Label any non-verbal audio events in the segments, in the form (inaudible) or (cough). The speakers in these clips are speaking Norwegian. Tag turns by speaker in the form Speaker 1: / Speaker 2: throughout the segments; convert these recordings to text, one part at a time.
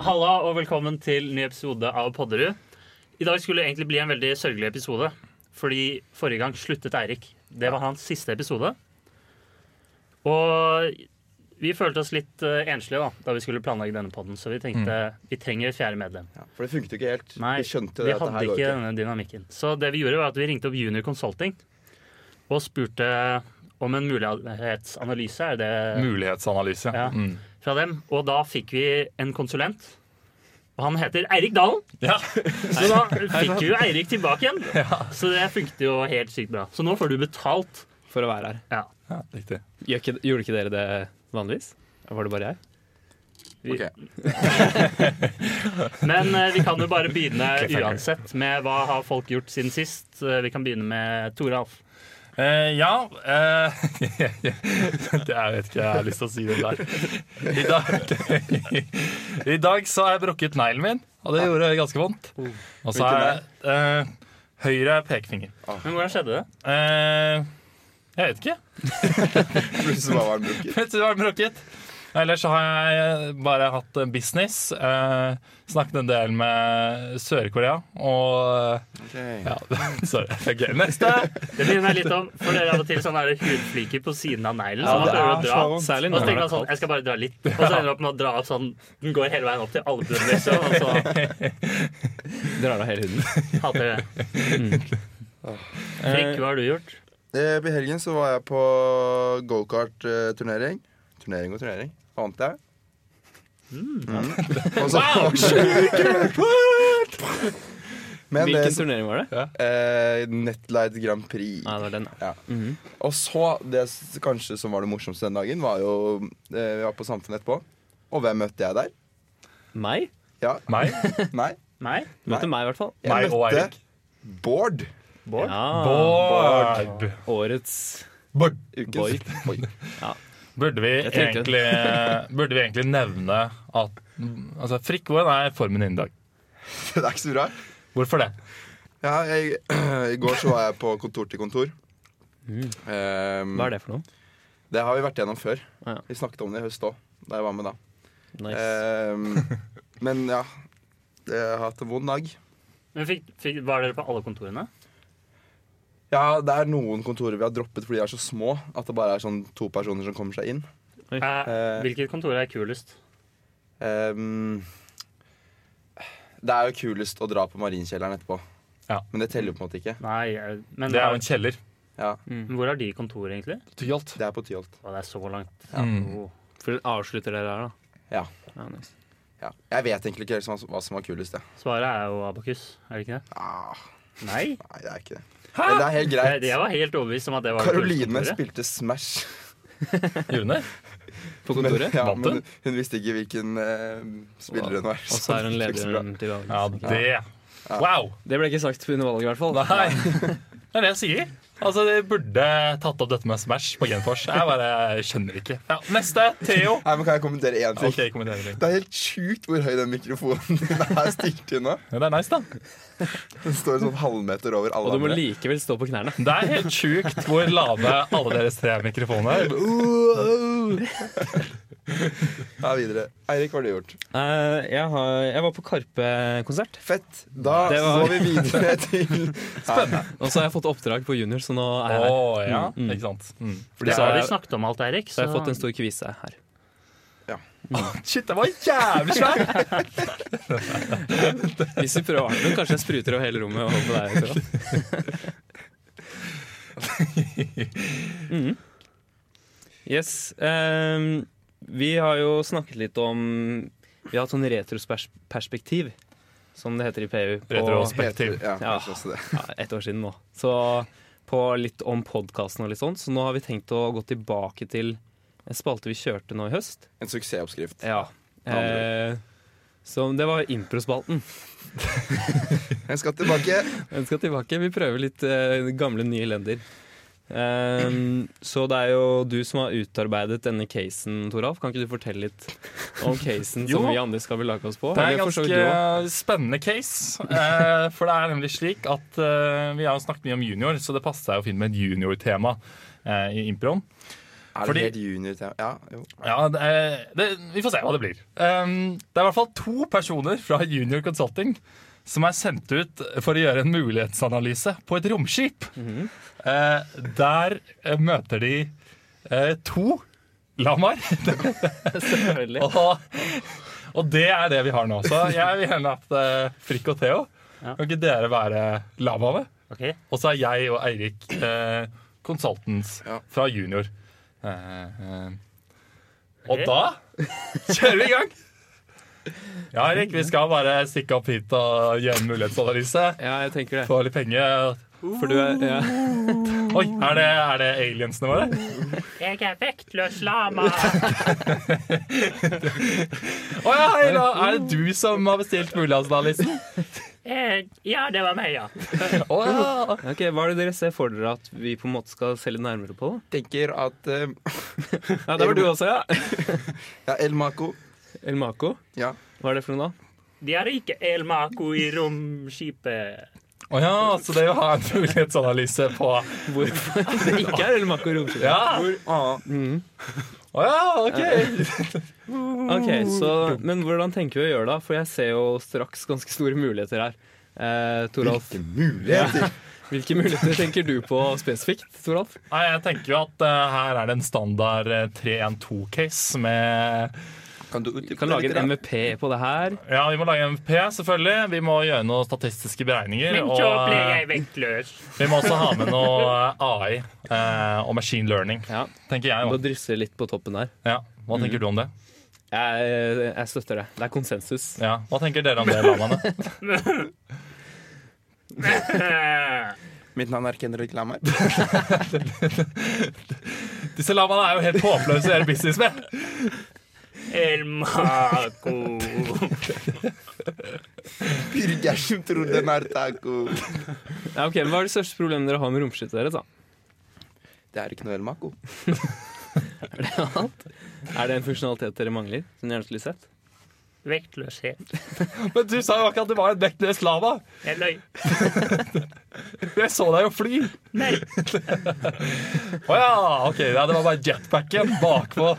Speaker 1: Halla og velkommen til ny episode av Podderud. I dag skulle det egentlig bli en veldig sørgelig episode, fordi forrige gang sluttet Eirik. Det var hans siste episode. Og vi følte oss litt eh, enslige da, da vi skulle planlegge denne podden, så vi tenkte vi trenger et fjerde medlem.
Speaker 2: Ja, for det funket jo ikke helt.
Speaker 1: Nei,
Speaker 2: vi Mm. skjønte
Speaker 1: vi
Speaker 2: det at det
Speaker 1: hadde
Speaker 2: her
Speaker 1: ikke
Speaker 2: går ikke.
Speaker 1: denne dynamikken. Så det vi gjorde var at vi ringte opp Junior Consulting og spurte om en mulighetsanalyse, er det
Speaker 3: Mulighetsanalyse.
Speaker 1: ja,
Speaker 3: Mm.
Speaker 1: fra dem. Og da fikk vi en konsulent, og han heter Eirik Dalen.
Speaker 3: Ja.
Speaker 1: Så da fikk vi jo Eirik tilbake igjen. Så det funket jo helt sykt bra. Så nå får du betalt.
Speaker 4: for å være her.
Speaker 1: Ja.
Speaker 3: ja, riktig.
Speaker 4: Gjør ikke, gjorde ikke dere det vanligvis? Var det bare jeg?
Speaker 1: Vi, Men eh, vi kan jo bare begynne uansett med hva har folk gjort siden sist. Eh, Vi kan begynne med Toralf.
Speaker 3: Eh, ja (laughs) eh, Jeg vet ikke, jeg har lyst til å si det der. I dag, I dag så har jeg brukket neglen min, og det gjorde ganske vondt. Og så har jeg eh, høyre pekefinger.
Speaker 1: Men hvordan skjedde det?
Speaker 3: Eh, jeg vet ikke. (laughs)
Speaker 2: (laughs) Plutselig bare var den brukket.
Speaker 3: Plutselig var den brukket. Ellers så har jeg bare hatt business. Eh, snakket en del med Sør-Korea og Ja, (laughs) sorry. Ok, neste.
Speaker 1: Det minner meg litt om For dere hadde til sånne her hudfliker på siden av neglen.
Speaker 4: Ja,
Speaker 1: som man
Speaker 4: det
Speaker 1: prøver å
Speaker 4: er
Speaker 1: dra.
Speaker 4: så vondt. Særlig
Speaker 1: Og så
Speaker 4: når
Speaker 1: tenker
Speaker 4: det er
Speaker 1: man sånn, jeg skal bare dra litt. Og så ender du opp med å dra opp sånn Den går hele veien opp til albuen, liksom. Og så
Speaker 4: Drar av hele (laughs) huden.
Speaker 1: hater jeg det. Frikk, hva har du gjort?
Speaker 2: Eh, I helgen så var jeg på gokart-turnering. Turnering og turnering. Ante jeg. Mm. (laughs) Og så- (laughs) Men
Speaker 4: Hvilken
Speaker 2: det
Speaker 4: turnering var det?
Speaker 2: eh, Netlight Grand Prix.
Speaker 4: Nei, det var den. da.
Speaker 2: Ja. Og så det s- kanskje som var det morsomste den dagen, var jo eh, Vi var på Samfunnet etterpå. Og hvem møtte jeg der?
Speaker 4: Meg?
Speaker 2: Ja,
Speaker 3: Meg.
Speaker 2: nei.
Speaker 1: Nei?
Speaker 4: Du møtte meg, i hvert fall.
Speaker 2: Jeg
Speaker 3: Meg og
Speaker 2: møtte
Speaker 3: Eirik.
Speaker 2: Bård.
Speaker 1: Bård?
Speaker 4: Ja,
Speaker 3: Bård.
Speaker 4: årets
Speaker 3: Bård.
Speaker 2: (laughs) Ukens Oi.
Speaker 3: Burde, vi
Speaker 4: Jeg tenkte
Speaker 3: egentlig, eh, burde vi egentlig nevne at altså, Frikk, hvordan er formen din i dag?
Speaker 2: Det er ikke så bra.
Speaker 3: Hvorfor det?
Speaker 2: Ja, jeg, (clears throat) I går så var jeg på kontor til kontor. Um,
Speaker 4: Hva er det for noe?
Speaker 2: Det har vi vært gjennom før.
Speaker 4: Ah, ja.
Speaker 2: Vi snakket om det i høst òg, da jeg var med da.
Speaker 4: Nice.
Speaker 2: Um, men ja. Jeg har hatt en vond dag.
Speaker 1: Men fikk, fikk, Var dere på alle kontorene?
Speaker 2: Ja, Det er noen kontorer vi har droppet fordi de er så små at det bare er sånn to personer som kommer seg inn.
Speaker 1: Eh,
Speaker 2: Eh.
Speaker 1: hvilket kontor er kulest?
Speaker 2: Um, det er jo kulest å dra på marinkjelleren etterpå,
Speaker 3: Ja.
Speaker 2: men det teller jo på en måte ikke.
Speaker 1: Nei, eh, men
Speaker 3: Det er jo en kjeller.
Speaker 2: Ja,
Speaker 1: Men Hvor har de kontor, egentlig?
Speaker 3: Tyholt.
Speaker 2: Det er på Tyholt.
Speaker 1: Å, det er så langt.
Speaker 3: Mm.
Speaker 1: Oh.
Speaker 4: For avslutter dere her, da.
Speaker 2: Ja.
Speaker 4: Ja, nice.
Speaker 2: ja. Jeg vet egentlig ikke helt hva som- hva som var kulest, jeg.
Speaker 1: Svaret er jo Abakus, er det ikke det?
Speaker 2: Ah,
Speaker 1: Nei?
Speaker 2: nei, det er ikke det. Men det er helt
Speaker 1: Jeg,
Speaker 2: greit.
Speaker 1: jeg var helt overbevist om at det var det
Speaker 2: Karoline
Speaker 1: kuleste kontoret.
Speaker 2: spilte Smash.
Speaker 3: June.
Speaker 4: På
Speaker 2: Men,
Speaker 4: (laughs) kontoret.
Speaker 2: ja,
Speaker 3: Vant
Speaker 2: men hun visste ikke hvilken eh, spiller hun var.
Speaker 4: Og så er hun
Speaker 2: det gikk så bra.
Speaker 4: lederen til
Speaker 3: (laughs) Ja,
Speaker 4: valget.
Speaker 3: det. Wow!
Speaker 4: Det ble ikke sagt under valget, i hvert fall.
Speaker 3: Nei, det er det jeg sier. Altså, De burde tatt opp dette med Smash på Genfors. Jeg bare skjønner ikke. Ja, neste. Theo.
Speaker 2: Nei, men Kan jeg kommentere én ting?
Speaker 3: Ok, kommenterer du.
Speaker 2: Det er helt sjukt hvor høy den mikrofonen din er stilt til nå.
Speaker 3: Ja, det er nice, da.
Speaker 2: Den står sånn halvmeter over alle
Speaker 4: Og du må
Speaker 2: andre.
Speaker 4: likevel stå på knærne.
Speaker 3: Det er helt sjukt hvor lave alle deres tre mikrofoner er.
Speaker 2: Ja, videre. Eirik, hva har du gjort?
Speaker 4: Eh, jeg, har, jeg var på Karpe-konsert,
Speaker 2: Fett. Da
Speaker 4: Det var-
Speaker 2: går vi videre til Spennende.
Speaker 4: og så har jeg fått oppdrag på junior, så nå er jeg
Speaker 3: Å
Speaker 4: her.
Speaker 3: ja,
Speaker 4: Mm, mm.
Speaker 3: ikke sant. Mm.
Speaker 1: Det
Speaker 4: Fordi så
Speaker 1: har
Speaker 4: har
Speaker 1: vi
Speaker 4: jeg,
Speaker 1: snakket om alt, Eirik.
Speaker 4: så har jeg fått en stor kvise her.
Speaker 3: Shit, den var jævlig svær!
Speaker 4: Hvis vi prøver å ordne den, kanskje jeg spruter over hele rommet over på deg. Tora. Mhm. Yes. ehm, vi har jo snakket litt om Vi har hatt sånn retroperspektiv, som det heter i PU. på-
Speaker 3: Retrospektiv.
Speaker 2: Ja,
Speaker 4: Ja.
Speaker 2: kanskje også det.
Speaker 4: ja, ett år siden nå. Så på litt om podkasten og litt sånn. Så nå har vi tenkt å gå tilbake til en spalte vi kjørte nå i høst.
Speaker 2: En suksessoppskrift.
Speaker 4: Ja. Eh, så det var improspalten.
Speaker 2: Jeg skal tilbake.
Speaker 4: Vi skal tilbake. Vi prøver litt eh, gamle, nye lender. Ehm, så det er jo du som har utarbeidet denne casen, Toralf. Kan ikke du fortelle litt om casen
Speaker 3: (laughs) Jo.
Speaker 4: som vi andre skal belage oss på?
Speaker 3: Det er en
Speaker 4: Eller for så vidt
Speaker 3: ganske
Speaker 4: du også.
Speaker 3: spennende case. eh, For det er nemlig slik at eh, vi har jo snakket mye om junior, så det passet seg å finne med et juniortema eh, i improen.
Speaker 2: Er
Speaker 3: Fordi-
Speaker 2: det helt junior til Ja, jo.
Speaker 3: Ja, det, er- det, Vi får se hva det blir. Um, det er i hvert fall to personer fra Junior Consulting som er sendt ut for å gjøre en mulighetsanalyse på et romskip.
Speaker 4: Mhm.
Speaker 3: Eh, der eh, møter de eh, to lamaer.
Speaker 4: Selvfølgelig.
Speaker 3: Og, og det er det vi har nå. Så jeg vil gjerne at eh, Frikk og Theo,
Speaker 1: Ja.
Speaker 3: kan ikke dere være lamaene?
Speaker 1: Ok,
Speaker 3: Og så er jeg og Eirik eh, consultants
Speaker 2: Ja.
Speaker 3: fra junior. Eh, eh. Og
Speaker 1: Ok.
Speaker 3: da kjører vi i gang! Ja, Eirik, vi skal bare stikke opp hit og gjøre en mulighetsanalyse.
Speaker 4: Ja, jeg tenker det.
Speaker 3: Få litt penger.
Speaker 4: For du er ja.
Speaker 3: Oi, er det, er det aliensene våre?
Speaker 1: Jeg er vektløs lama.
Speaker 3: Å ja, hei, da er det du som har bestilt mulighetsanalysen?
Speaker 1: Eh, Ja, det var meg, ja.
Speaker 3: Å ja.
Speaker 4: Ok, Hva er det dere ser for dere at vi på en måte skal se litt nærmere på? da?
Speaker 2: Tenker at eh,
Speaker 4: Ja, Det var du også, ja.
Speaker 2: Ja, El Mako.
Speaker 4: El Mako.
Speaker 2: Ja.
Speaker 4: Hva er det for noe, da?
Speaker 1: De har ikke El Mako i romskipet.
Speaker 3: Å ja, så det er jo å ha en mulighetsanalyse på
Speaker 4: Hvorfor det ikke er El Mako romskip?
Speaker 3: Ja!
Speaker 2: Hvor annet?
Speaker 3: Å ja, OK.
Speaker 4: Ok, så, Men hvordan tenker vi å gjøre det? da? For jeg ser jo straks ganske store muligheter her. Eh, Toralf,
Speaker 2: Hvilke muligheter!
Speaker 4: hvilke muligheter tenker du på spesifikt? Toralf?
Speaker 3: Nei, jeg tenker jo at eh, her er det en standard eh, 312-case med
Speaker 2: Kan du
Speaker 4: Du kan lage en MVP på det her.
Speaker 3: Ja, vi må lage en P, selvfølgelig. Vi må gjøre noen statistiske beregninger.
Speaker 1: Men
Speaker 3: og
Speaker 1: så ble
Speaker 3: eh,
Speaker 1: jeg vektløs.
Speaker 3: (laughs) vi må også ha med noe eh, AI eh, og machine learning,
Speaker 4: Ja,
Speaker 3: tenker jeg.
Speaker 4: Må
Speaker 3: jo.
Speaker 4: drysse litt på toppen der.
Speaker 3: Ja. Hva tenker du om det?
Speaker 4: Jeg, jeg støtter det. Det er konsensus.
Speaker 3: Ja. Hva tenker dere om det, lamaene?
Speaker 1: Eh.
Speaker 2: Mitt navn er Kendrick Lamar.
Speaker 3: (laughs) Disse lamaene er jo helt håpløse å gjøre business med.
Speaker 1: El Mako.
Speaker 2: (laughs) Birger som tror den er taco.
Speaker 4: Ja, ok, men Hva er det største problemet dere har med romskipet deres? da?
Speaker 2: Det er ikke noe El Mako.
Speaker 4: Er det alt? Er det en funksjonalitet dere mangler? som dere gjerne skulle sett?
Speaker 1: Vektløshet.
Speaker 3: Men du sa jo akkurat at det var en vektløs lama.
Speaker 1: Jeg løy.
Speaker 3: Jeg så deg jo fly.
Speaker 1: Nei.
Speaker 3: Å ja, OK. Ja, det var bare jetpacken bakpå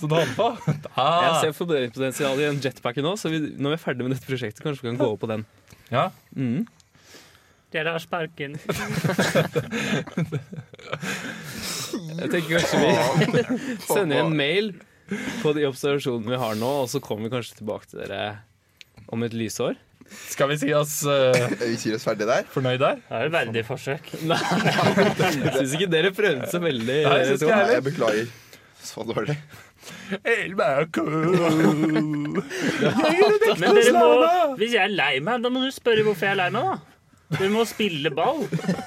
Speaker 3: som du holdt på.
Speaker 4: Jeg
Speaker 3: Ah.
Speaker 4: ser forbedringspotensial i en jetpack nå, så vi, når vi er ferdig med dette prosjektet, kanskje vi kan gå over på den.
Speaker 3: Ja.
Speaker 4: Mm.
Speaker 1: Dere har sparken.
Speaker 4: Jeg tenker kanskje vi (laughs) sender en mail på de observasjonene vi har nå, og så kommer vi kanskje tilbake til dere om et lysår.
Speaker 3: Skal vi si oss eh,
Speaker 2: Vi sier oss ferdig der.
Speaker 3: fornøyd der?
Speaker 1: Det var et verdig forsøk.
Speaker 4: Jeg syns ikke dere prøvde så veldig.
Speaker 3: Nei, jeg synes ikke
Speaker 2: Nei,
Speaker 3: heller.
Speaker 2: jeg beklager. Så dårlig.
Speaker 1: Men dere må, hvis jeg er lei meg, da må du spørre hvorfor jeg er lei meg, da. Du må spille ball.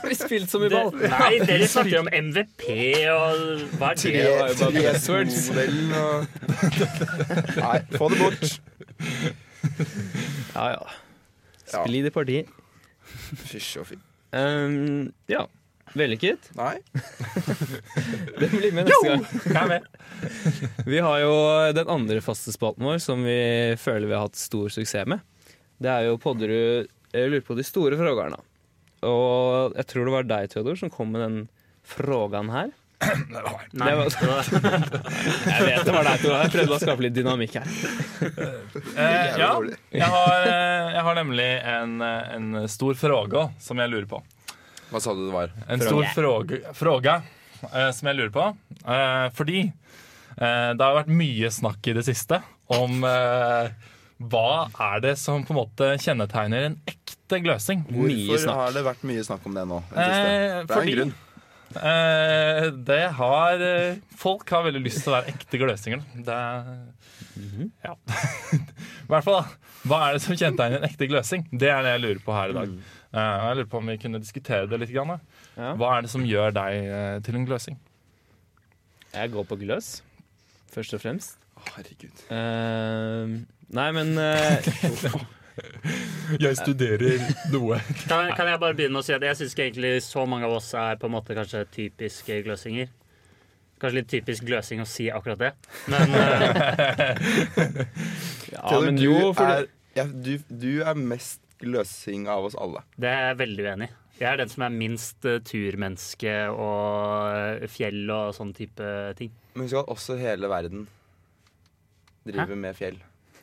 Speaker 4: Vi spilte så mye
Speaker 1: Det,
Speaker 4: ball.
Speaker 1: nei, dere snakker om MVP og hva er det?
Speaker 4: var jo bare buzzwords.
Speaker 2: modellen og Nei, få det bort.
Speaker 4: Ja, ja.
Speaker 2: Ja.
Speaker 4: Bli det parti.
Speaker 2: Fysj og fy.
Speaker 4: Um, ja. Vellykket.
Speaker 2: Nei.
Speaker 4: (laughs) Det blir med neste gang.
Speaker 3: Jeg er med.
Speaker 4: Vi har jo den andre faste spalten vår som vi føler vi har hatt stor suksess med. Det er jo Podderud jeg lurer på de store frågerne. Og jeg tror det var deg, Theodor, som kom med den frågan her.
Speaker 1: Nei,
Speaker 4: Det var-
Speaker 1: det var-
Speaker 4: Jeg vet det var deg, Theodor. Jeg prøvde å skape litt dynamikk her.
Speaker 3: Eh, ja,
Speaker 2: dårlig.
Speaker 3: jeg har, eh, jeg har nemlig en, eh, en stor fråge som jeg lurer på.
Speaker 2: Hva sa du det var?
Speaker 3: En stor fråge, fråge eh, som jeg lurer på. Eh, fordi eh, det har vært mye snakk i det siste om eh, hva er det som på en måte kjennetegner en ekte gløsing?
Speaker 4: Mye
Speaker 2: Hvorfor
Speaker 4: snakk.
Speaker 2: har det vært mye snakk om det nå? i det
Speaker 3: Eh,
Speaker 2: siste? det er
Speaker 3: fordi-
Speaker 2: en grunn.
Speaker 3: Eh, det har eh, Folk har veldig lyst til å være ekte gløsinger. Det
Speaker 2: Mhm.
Speaker 3: Ja. (laughs) I hvert fall, hva er det som kjennetegner en ekte gløsing? Det er det jeg lurer på her i dag.
Speaker 2: Mm.
Speaker 3: Eh, og jeg lurer på om vi kunne diskutere det litt. Grann, da.
Speaker 4: Ja.
Speaker 3: Hva er det som gjør deg eh, til en gløsing?
Speaker 4: Jeg går på gløs, først og fremst. Ehm,
Speaker 2: Å, Herregud.
Speaker 4: (laughs) Eh, nei, men eh,
Speaker 3: Jeg studerer noe.
Speaker 1: Kan, kan jeg bare begynne å si at jeg syns egentlig så mange av oss er på en måte kanskje typiske gløsinger. Kanskje litt typisk gløsing å si akkurat det. Men eh,
Speaker 4: Ja,
Speaker 2: Theodor,
Speaker 4: men
Speaker 2: du,
Speaker 4: jo, for
Speaker 2: er, ja, du, du er mest løsing av oss alle.
Speaker 1: det er jeg veldig uenig i. Jeg er den som er minst eh, turmenneske og eh, fjell og sånn type ting.
Speaker 2: Men husk at også hele verden driver med fjell.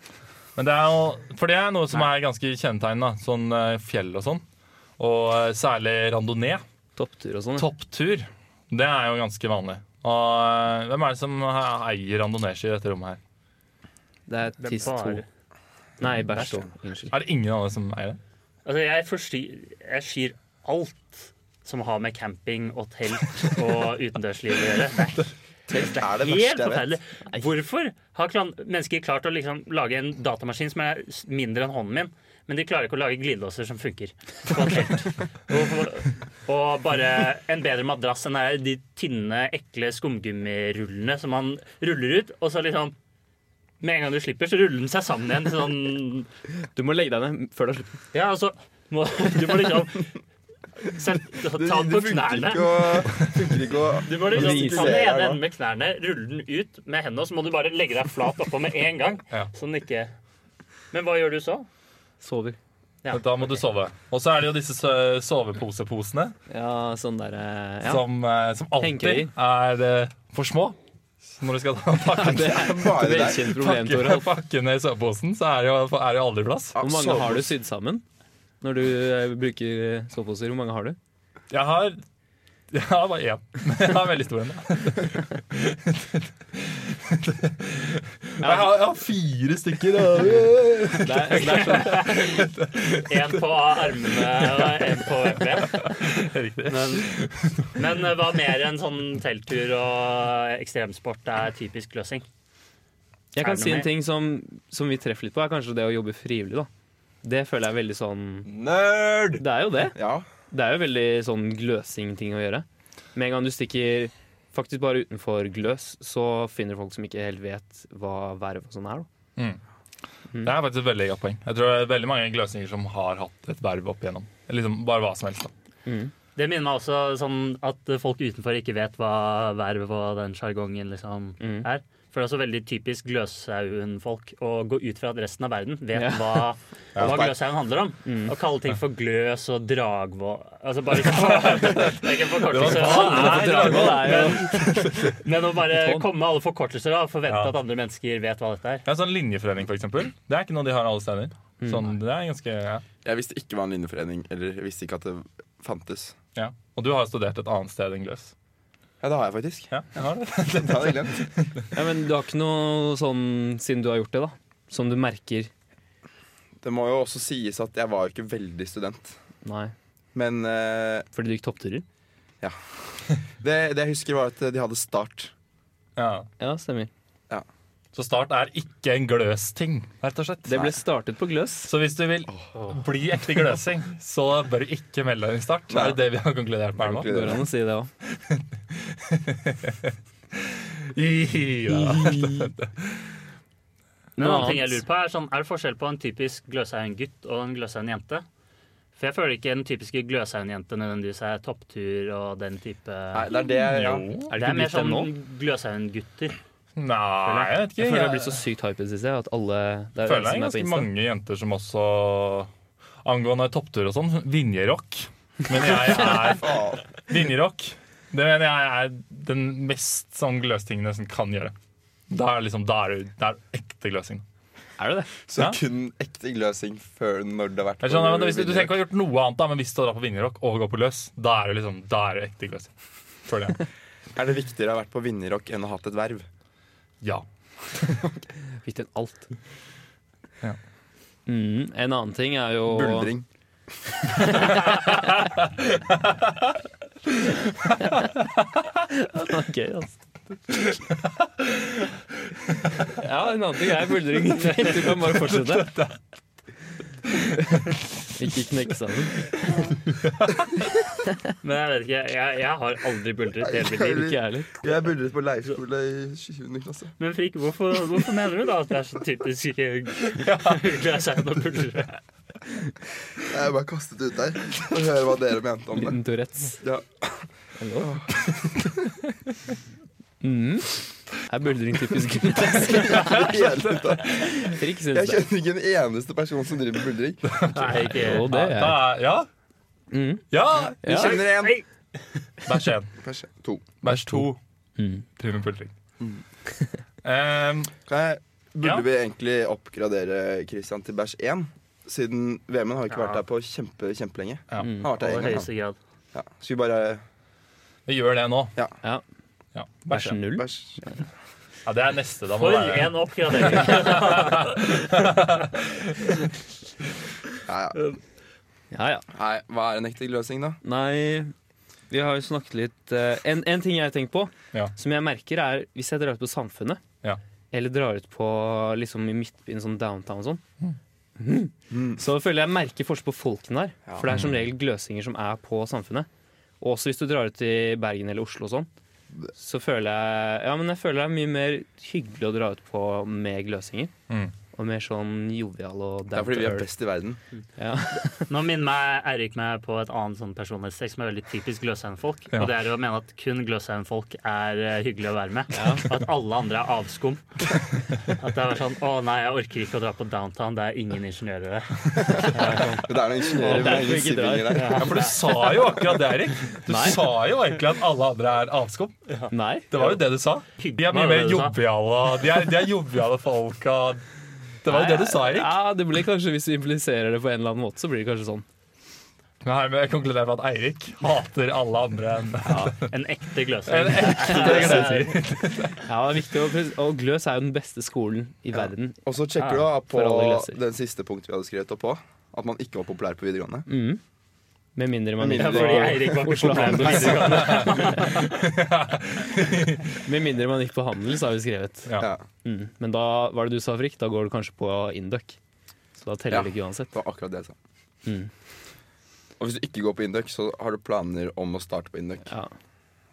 Speaker 3: (laughs) Men det er jo, for det er noe som er ganske kjennetegnende. Sånn eh, fjell og sånn. Og eh, særlig randonee.
Speaker 4: topptur og sånn. ja.
Speaker 3: Topptur. Det er jo ganske vanlig. Og eh, hvem er det som eier randonee-ski i dette rommet her?
Speaker 4: Det er
Speaker 1: Det er
Speaker 4: tiss to.
Speaker 1: bare-
Speaker 4: Nei, bæsj to. Unnskyld.
Speaker 3: Er det ingen andre som eier det?
Speaker 1: Altså, jeg, forstyr, jeg skyr alt som har med camping og telt
Speaker 2: (laughs)
Speaker 1: og utendørsliv å gjøre. Det er
Speaker 2: Telt er det
Speaker 1: Helt
Speaker 2: verste jeg vet.
Speaker 1: forferdelig. Hvorfor har klan- mennesker klart å liksom lage en datamaskin som er s- mindre enn hånden min, men de klarer ikke å lage glidelåser som funker? på et
Speaker 2: (laughs)
Speaker 1: telt? Og- Og bare en bedre madrass enn det er de tynne, ekle skumgummirullene som man ruller ut, og så liksom Med en gang du slipper, så ruller den seg sammen igjen. sånn
Speaker 4: Du må legge deg ned før du har slutt.
Speaker 1: ja, altså må, (laughs) Du må liksom selv, Ta
Speaker 2: (laughs) Det,
Speaker 1: den
Speaker 2: det
Speaker 1: på
Speaker 2: funker
Speaker 1: knærne.
Speaker 2: ikke å, funker ikke å
Speaker 1: Du må liksom
Speaker 2: Lise
Speaker 1: ta den
Speaker 2: her
Speaker 1: ene
Speaker 2: nå.
Speaker 1: enden med knærne, rulle den ut med hendene, og så må du bare legge deg flat oppå med en gang.
Speaker 3: Ja.
Speaker 1: Så den ikke Men hva gjør du så?
Speaker 4: Sover.
Speaker 1: Ja,
Speaker 3: Da må du sove. Og så er det jo disse so- soveposeposene
Speaker 4: Ja, sånn der eh, ja.
Speaker 3: som, eh, som alltid er eh, for små. Så når du skal (laughs) ta pakke,
Speaker 4: Det er et
Speaker 2: Bare der.
Speaker 4: velkjent problem,
Speaker 3: pakke,
Speaker 4: Toralf.
Speaker 3: pakke ned soveposen, så er det jo, er det jo aldri plass.
Speaker 2: Ja,
Speaker 4: Hvor mange har du
Speaker 2: sovepose.
Speaker 4: sydd sammen når du eh, bruker eh, soveposer? Hvor mange har du?
Speaker 3: Jeg har (laughs) jeg har bare én. (laughs) Men Jeg har veldig stor en. da. Jeg har, jeg har fire stykker. da.
Speaker 4: Det er, det er sånn,
Speaker 1: En på armene og en på webben.
Speaker 3: Riktig.
Speaker 1: Men, men hva mer enn sånn telttur og ekstremsport er typisk løsning?
Speaker 4: jeg
Speaker 1: Er
Speaker 4: kan
Speaker 1: det
Speaker 4: si
Speaker 1: noe
Speaker 4: en
Speaker 1: mer?
Speaker 4: ting som, som vi treffer litt på, er kanskje det å jobbe frivillig. da. Det føler jeg er veldig sånn
Speaker 2: Nerd!
Speaker 4: Det er jo det.
Speaker 2: Ja.
Speaker 4: Det er jo veldig sånn gløsing-ting å gjøre. Med en gang du stikker faktisk bare utenfor gløs, så finner du folk som ikke helt vet hva verv og sånn er. da.
Speaker 3: Det er faktisk et veldig godt poeng. Jeg tror det er veldig mange gløsninger som har hatt et verv opp igjennom. Liksom bare hva som helst. da.
Speaker 1: Det minner meg også sånn at folk utenfor ikke vet hva verv og den sjargongen liksom
Speaker 4: Mm.
Speaker 1: er. For det er så veldig typisk Gløshaugen-folk å gå ut fra at resten av verden vet
Speaker 4: Ja. (laughs) Mm.
Speaker 1: hva, hva Gløshaugen handler om. Å kalle ting for gløs og dragvoll Altså bare ikke
Speaker 4: (laughs)
Speaker 1: Det er ikke en forkortelse. Nei,
Speaker 4: Dragvoll er jo
Speaker 1: (laughs) Men å bare
Speaker 4: Sånn.
Speaker 1: komme med alle forkortelser da, og forvente
Speaker 3: Ja.
Speaker 1: at andre mennesker vet hva dette er.
Speaker 3: Ja, sånn linjeforening, for eksempel. Det er ikke noe de har alle steder. Sånn, det er ganske, ja.
Speaker 2: Jeg visste ikke hva en linjeforening Eller jeg visste ikke at det fantes.
Speaker 3: Ja. Og du har studert et annet sted enn gløs.
Speaker 2: Ja, det har jeg faktisk.
Speaker 3: Ja, jeg har det.
Speaker 2: (laughs) Det hadde jeg glemt.
Speaker 4: Ja, men du har ikke noe sånn, siden du har gjort det, da, som du merker
Speaker 2: Det må jo også sies at jeg var jo ikke veldig student.
Speaker 4: Nei,
Speaker 2: Men eh,
Speaker 4: fordi du gikk toppturer?
Speaker 2: det, det jeg husker, var at de hadde start.
Speaker 3: (laughs) Ja.
Speaker 4: Ja, stemmer.
Speaker 3: Så start er ikke en gløs-ting, rett og slett.
Speaker 4: Det ble startet på gløs.
Speaker 3: Så hvis du vil bli ekte gløsing, så bør du ikke melde deg i start.
Speaker 2: Nei.
Speaker 3: Er det det vi har konkludert med her nå?
Speaker 2: Konkludert.
Speaker 4: Går an å si det òg.
Speaker 3: Ja.
Speaker 1: Men en
Speaker 4: Noe
Speaker 1: annen ting jeg
Speaker 4: annet.
Speaker 1: lurer på Er sånn, er det forskjell på en typisk Gløshaugen-gutt og en Gløshaugen-jente? For jeg føler ikke den typiske Gløshaugen-jente nødvendigvis er topptur og den type
Speaker 2: Nei, det er det jeg ja.
Speaker 3: Jo.
Speaker 4: Er
Speaker 1: Det er
Speaker 4: det ikke
Speaker 1: mer
Speaker 4: blitt det
Speaker 1: sånn
Speaker 4: nå?
Speaker 1: Gløshaugen-gutter.
Speaker 3: Nei, jeg vet ikke.
Speaker 4: Jeg føler det har blitt så sykt hype i det siste. At alle det er
Speaker 3: føler det
Speaker 4: som
Speaker 3: er
Speaker 4: på
Speaker 3: ganske
Speaker 4: Insta.
Speaker 3: mange jenter som også Angående topptur og sånn, Vinjerock. Men jeg er
Speaker 2: Faen.
Speaker 3: Vinjerock. Det mener jeg er den mest sånn gløstingen jeg nesten kan gjøre. Da er det liksom, da er det, det er ekte gløsing.
Speaker 4: Er det det?
Speaker 2: Så
Speaker 3: Ja.
Speaker 2: kun ekte gløsing før når det har vært
Speaker 3: Jeg skjønner, men hvis du, du trenger ikke å ha gjort noe annet, da, men hvis du drar på Vinjerock og går på løs, da er det liksom, da er det ekte gløsing. Føler jeg.
Speaker 2: Er det viktigere å ha vært på vinnerrock enn å ha hatt et verv?
Speaker 3: Ja.
Speaker 4: Viktig enn alt.
Speaker 3: Ja.
Speaker 4: Mm, en annen ting er jo
Speaker 2: Buldring.
Speaker 4: (laughs) Ok, altså.
Speaker 3: (laughs)
Speaker 4: ja, en annen ting er buldring. Du kan bare fortsette. Ikke knekke sammen.
Speaker 1: Men jeg vet ikke, jeg, jeg har aldri buldret i hele mitt liv.
Speaker 4: (laughs) Ikke jeg heller.
Speaker 2: Jeg buldret på leirskole i 20. klasse.
Speaker 1: Men Frikk, hvorfor, hvorfor mener du da at det er så typisk eh, hyggelig å sette og buldre?
Speaker 2: Jeg bare kastet ut der. Og høre hva dere mente om det.
Speaker 4: Liten Tourettes.
Speaker 2: Ja. (laughs)
Speaker 4: Det er lov.
Speaker 3: (laughs)
Speaker 4: Mm. Er buldring typisk grotesk?
Speaker 2: Helt ut der.
Speaker 4: Frikk
Speaker 2: Jeg
Speaker 4: syns det.
Speaker 2: kjenner ikke en eneste person som driver med buldring.
Speaker 1: Nei, ikke
Speaker 4: Jo, det er jeg.
Speaker 3: Da er- Ja.
Speaker 4: Mm.
Speaker 3: ja.
Speaker 2: Jeg
Speaker 4: Ja.
Speaker 2: kjenner en.
Speaker 1: Hei!
Speaker 3: Vers én.
Speaker 2: Kanskje to.
Speaker 3: Vers to.
Speaker 4: Mm.
Speaker 3: Driver med pultring. Um,
Speaker 2: Kan jeg, burde
Speaker 3: Ja.
Speaker 2: vi egentlig oppgradere Christian til bæsj 1? Siden VM-en har ikke vært
Speaker 1: Ja.
Speaker 2: der på kjempe, kjempelenge.
Speaker 3: ja.
Speaker 4: Mm.
Speaker 2: Han har vært der
Speaker 1: Aller
Speaker 2: en gang.
Speaker 1: høyeste grad.
Speaker 2: han. Ja. Skal vi bare
Speaker 3: Vi gjør det nå.
Speaker 4: Ja.
Speaker 3: Ja, vers
Speaker 4: Bæsj
Speaker 3: én.
Speaker 4: null?
Speaker 2: bæsj?
Speaker 3: Ja, det er neste. Da
Speaker 1: For
Speaker 3: må det være
Speaker 1: en oppgradering.
Speaker 2: Ja, ja.
Speaker 4: Ja, ja.
Speaker 2: Nei, hva er en ekte løsning, da?
Speaker 4: Nei, vi har jo snakket litt eh, en, en ting jeg har tenkt på,
Speaker 3: Ja.
Speaker 4: som jeg merker er Hvis jeg drar ut på Samfunnet,
Speaker 3: Ja.
Speaker 4: eller drar ut på liksom i midtbyen, sånn downtown og sånn,
Speaker 3: Mm.
Speaker 4: så føler jeg merker forskjell på folkene der.
Speaker 2: Mm. Ja.
Speaker 4: For det er som regel gløsinger som er på Samfunnet. Og også hvis du drar ut i Bergen eller Oslo og sånn, så føler jeg Ja, men jeg føler det er mye mer hyggelig å dra ut på med gløsinger.
Speaker 3: Mm.
Speaker 4: Og mer sånn jovial og
Speaker 2: Det er fordi vi er
Speaker 4: down to earth.
Speaker 2: best i verden.
Speaker 4: Ja.
Speaker 1: Nå minner meg Eirik meg på et annet sånn personlighetstrekk som er veldig typisk Gløshaugen-folk.
Speaker 3: Ja.
Speaker 1: Og det er å mene at kun Gløshaugen-folk er eh, hyggelig å være med.
Speaker 4: Ja.
Speaker 1: At alle andre er avskum. At det er sånn Å nei, jeg orker ikke å dra på downtown. Det er ingen ingeniører der.
Speaker 2: Men det er
Speaker 4: (laughs)
Speaker 2: noen ingeniører
Speaker 4: Og
Speaker 2: med
Speaker 4: derfor
Speaker 2: ingen
Speaker 4: ikke drar.
Speaker 2: sivinger der.
Speaker 3: Ja, for du sa jo akkurat det, Erik. Du
Speaker 4: Nei.
Speaker 3: sa jo egentlig at alle andre er avskum.
Speaker 4: Nei.
Speaker 3: Det var jo det du sa. De er mye mer
Speaker 1: sånn.
Speaker 3: joviale. De er, de er joviale folk. og- Det var jo det du sa, Erik.
Speaker 4: Ja, det blir kanskje Hvis du impliserer det på en eller annen måte, så blir det kanskje sånn.
Speaker 3: Men her med jeg konkluderer med at Eirik hater alle andre enn
Speaker 1: En ekte
Speaker 3: en
Speaker 1: Gløshaugen.
Speaker 3: ekte gløser.
Speaker 4: Ja, det er viktig å pres- Og Gløs er jo den beste skolen i verden.
Speaker 2: Og så sjekker du da på
Speaker 4: for alle klasser.
Speaker 2: den siste punktet vi hadde skrevet opp på. At man ikke var populær på videregående.
Speaker 4: Mm. Med mindre man
Speaker 2: Med
Speaker 1: Ja,
Speaker 4: gikk
Speaker 2: mindre-
Speaker 4: på,
Speaker 1: fordi Eirik var ikke
Speaker 4: Oslo
Speaker 1: populær på
Speaker 4: Handels.
Speaker 1: videregående.
Speaker 4: med mindre man gikk på handel, så har vi skrevet.
Speaker 3: Ja.
Speaker 2: Ja,
Speaker 4: Mm. Men da hva er det du sa, Frikk? Da går du kanskje på Induc. Så da teller
Speaker 2: Ja.
Speaker 4: det ikke uansett.
Speaker 2: det var akkurat det jeg sa.
Speaker 4: Mm.
Speaker 2: Og hvis du ikke går på Induc, så har du planer om å starte på Induc.
Speaker 4: Ja,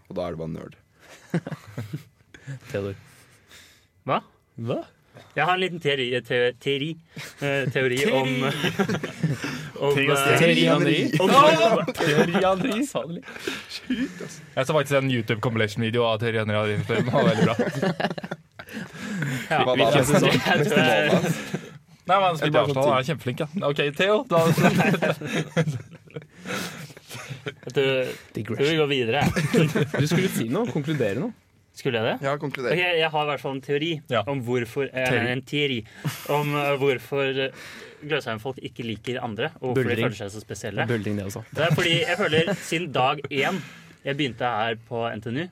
Speaker 2: Og da er du bare nerd.
Speaker 4: Theodor.
Speaker 1: Hva?
Speaker 4: Hva?
Speaker 1: Jeg har en liten teori, te, teori, eh, teori om om,
Speaker 3: Teori og
Speaker 1: eh,
Speaker 4: Teori
Speaker 2: Henri.
Speaker 4: Henri.
Speaker 1: om
Speaker 4: Teori Henri, sa det litt.
Speaker 3: Jeg så faktisk en YouTube compilation-video av Terje Henry Adrian før. Den var veldig bra.
Speaker 1: Ja.
Speaker 2: Hva da?
Speaker 4: Hvilken sesong?
Speaker 1: Jeg tror jeg-
Speaker 2: Målet.
Speaker 3: (laughs) Nei, men
Speaker 2: Jeg
Speaker 3: han spiller
Speaker 2: bare
Speaker 3: Arsenal, sånn, han er kjempeflink, ja. OK, Theo. Da, sånn.
Speaker 1: jeg tror- tror vi
Speaker 4: Digression.
Speaker 1: går videre.
Speaker 4: Du skulle si noe. Konkludere noe.
Speaker 1: Skulle jeg det?
Speaker 2: Jeg har konkludert.
Speaker 1: Ok, jeg har i hvert fall en teori
Speaker 3: Ja.
Speaker 1: om hvorfor eh,
Speaker 3: Teori.
Speaker 1: En teori om eh, hvorfor eh, Gløshaugen-folk ikke liker andre, og hvorfor de
Speaker 4: Buldring.
Speaker 1: føler seg så spesielle.
Speaker 4: Bølding, det også.
Speaker 1: Det er fordi jeg føler siden dag én jeg begynte her på NTNU,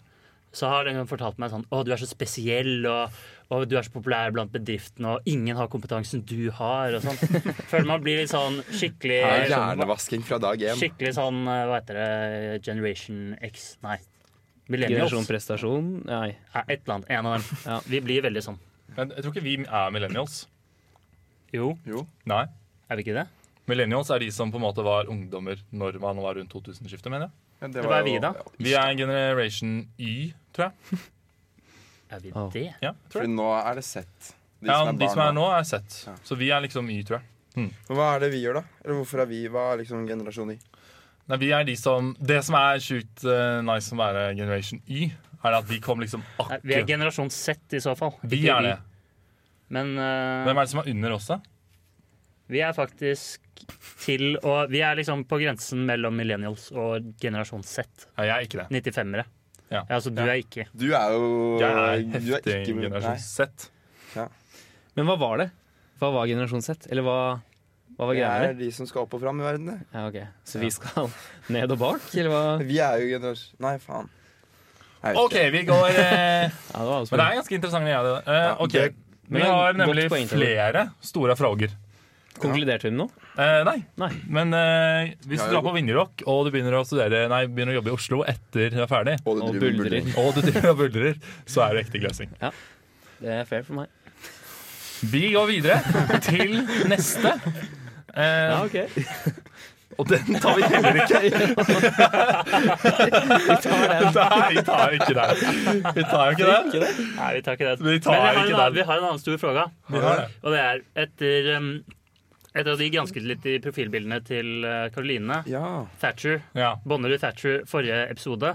Speaker 1: så har den fortalt meg sånn Å, du er så spesiell, og, og du er så populær blant bedriftene, og ingen har kompetansen du har, og sånn. Føler man blir litt sånn skikkelig
Speaker 2: Det er hjernevasking fra dag én.
Speaker 1: Skikkelig sånn, eh, hva heter det, Generation X, nei. Millennials.
Speaker 4: Generasjon prestasjon. Nei.
Speaker 1: Ja, et eller annet. En av dem.
Speaker 4: Ja.
Speaker 1: Vi blir veldig sånn.
Speaker 3: men jeg tror ikke vi er millennials.
Speaker 1: Jo,
Speaker 2: Jo.
Speaker 3: Nei.
Speaker 1: er vi ikke det?
Speaker 3: Millennials er de som på en måte var ungdommer når man var rundt 2000-skiftet, mener jeg.
Speaker 2: Ja, det
Speaker 1: Hva er vi
Speaker 2: jo-
Speaker 1: da?
Speaker 3: Vi er en generation Y, tror jeg.
Speaker 1: Er vi
Speaker 4: Åh.
Speaker 1: det?
Speaker 3: Ja, tror
Speaker 2: Fordi
Speaker 3: jeg.
Speaker 2: nå er det sett. De
Speaker 3: ja, de som er
Speaker 2: barna.
Speaker 3: nå, er Z.
Speaker 2: Ja.
Speaker 3: Så vi er liksom Y, tror jeg.
Speaker 2: Men Hva er det vi gjør, da? Eller hvorfor er vi hva er liksom generasjon i?
Speaker 3: Nei, vi er de som Det som er sjukt eh, nice med å være generation Y, er at vi kom liksom
Speaker 1: Nei, vi er
Speaker 3: akkurat
Speaker 1: generasjon Z i så fall.
Speaker 3: Vi
Speaker 1: Ikke
Speaker 3: er det.
Speaker 1: Men eh,
Speaker 3: Hvem er det som er under også?
Speaker 1: vi er faktisk til å Vi er liksom på grensen mellom millennials og generasjon Z.
Speaker 3: Nei, jeg er ikke det.
Speaker 1: 95-ere.
Speaker 3: Ja.
Speaker 1: altså du er ikke.
Speaker 2: Du er jo
Speaker 3: Jeg er
Speaker 2: du er
Speaker 3: heftig
Speaker 2: ikke-
Speaker 3: generasjon
Speaker 2: nei.
Speaker 3: Z.
Speaker 4: Men hva var det? Hva var generasjon Z? Eller hva, hva var
Speaker 2: Vi
Speaker 4: greia med det?
Speaker 2: er de som skal opp og fram i verden, det.
Speaker 4: Ja, ok. Så vi skal (laughs) ned og bak, eller hva?
Speaker 2: Vi er jo generasjon Nei, faen. Jeg vet
Speaker 3: OK, vi
Speaker 2: (laughs)
Speaker 3: går eh,
Speaker 4: Ja, det var
Speaker 3: Men det er ganske interessant. Ja, det, eh,
Speaker 2: Ja,
Speaker 3: ok.
Speaker 2: det-
Speaker 3: Vi
Speaker 4: men det er
Speaker 3: har
Speaker 4: et godt
Speaker 3: nemlig
Speaker 4: poeng til det.
Speaker 3: flere store frågor.
Speaker 4: Konkluderte hun nå?
Speaker 3: Eh, nei.
Speaker 4: Nei.
Speaker 3: men eh, hvis
Speaker 2: Ja,
Speaker 3: du drar
Speaker 2: jo.
Speaker 3: på Vinjerock og du begynner å studere Nei, begynner å jobbe i Oslo etter du er ferdig,
Speaker 2: Og
Speaker 4: Og
Speaker 2: du driver med
Speaker 4: buldrer.
Speaker 2: buldring.
Speaker 3: og du driver og buldrer, så er du ekte gløsing.
Speaker 4: Det er fair for meg.
Speaker 3: Vi går videre til neste. Eh,
Speaker 4: Ja, ok.
Speaker 3: Og den tar vi heller ikke. (laughs) Nei, vi tar jo ikke den. Vi tar jo ikke den.
Speaker 1: Nei, vi tar ikke det.
Speaker 3: Vi
Speaker 1: Men
Speaker 3: tar
Speaker 1: vi har,
Speaker 3: ikke
Speaker 1: en, annen-
Speaker 3: den.
Speaker 1: vi har en annen stor fråga.
Speaker 3: Vi har det.
Speaker 1: Og det er etter um, Etter at de gransket litt i profilbildene til eh, Caroline
Speaker 2: Ja.
Speaker 1: Thatcher,
Speaker 3: Ja.
Speaker 1: Bonnerud Thatcher forrige episode,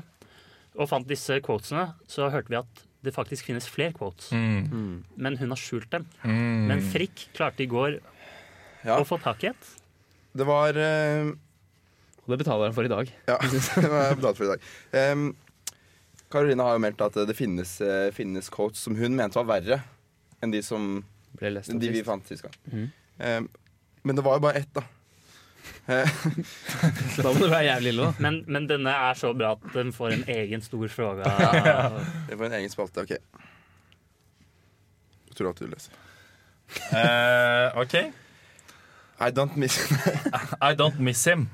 Speaker 1: og fant disse quotesene, så hørte vi at det faktisk finnes flere quotes.
Speaker 3: Mm.
Speaker 1: Men hun har skjult dem.
Speaker 3: Mm.
Speaker 1: Men Frikk klarte i går
Speaker 2: Ja.
Speaker 1: å få tak i et.
Speaker 2: Det var eh,
Speaker 4: Og det betaler han for i dag.
Speaker 2: (laughs) Ja, det var jeg betalt for i dag. Ehm, Karolina har jo meldt at det finnes, eh, finnes coach som hun mente var verre enn de, som,
Speaker 4: Ble lest om
Speaker 2: de vi
Speaker 4: sist.
Speaker 2: fant sist gang.
Speaker 1: Mhm.
Speaker 2: Ehm, men det var jo bare ett, da.
Speaker 4: (laughs) Da må det være jævlig ille, da.
Speaker 1: Men, men denne er så bra at den får en egen stor fråga.
Speaker 2: Det var en egen spalte. OK. Jeg tror at du leser.
Speaker 3: Eh, OK.
Speaker 2: I don't miss (laughs)
Speaker 3: I don't miss him.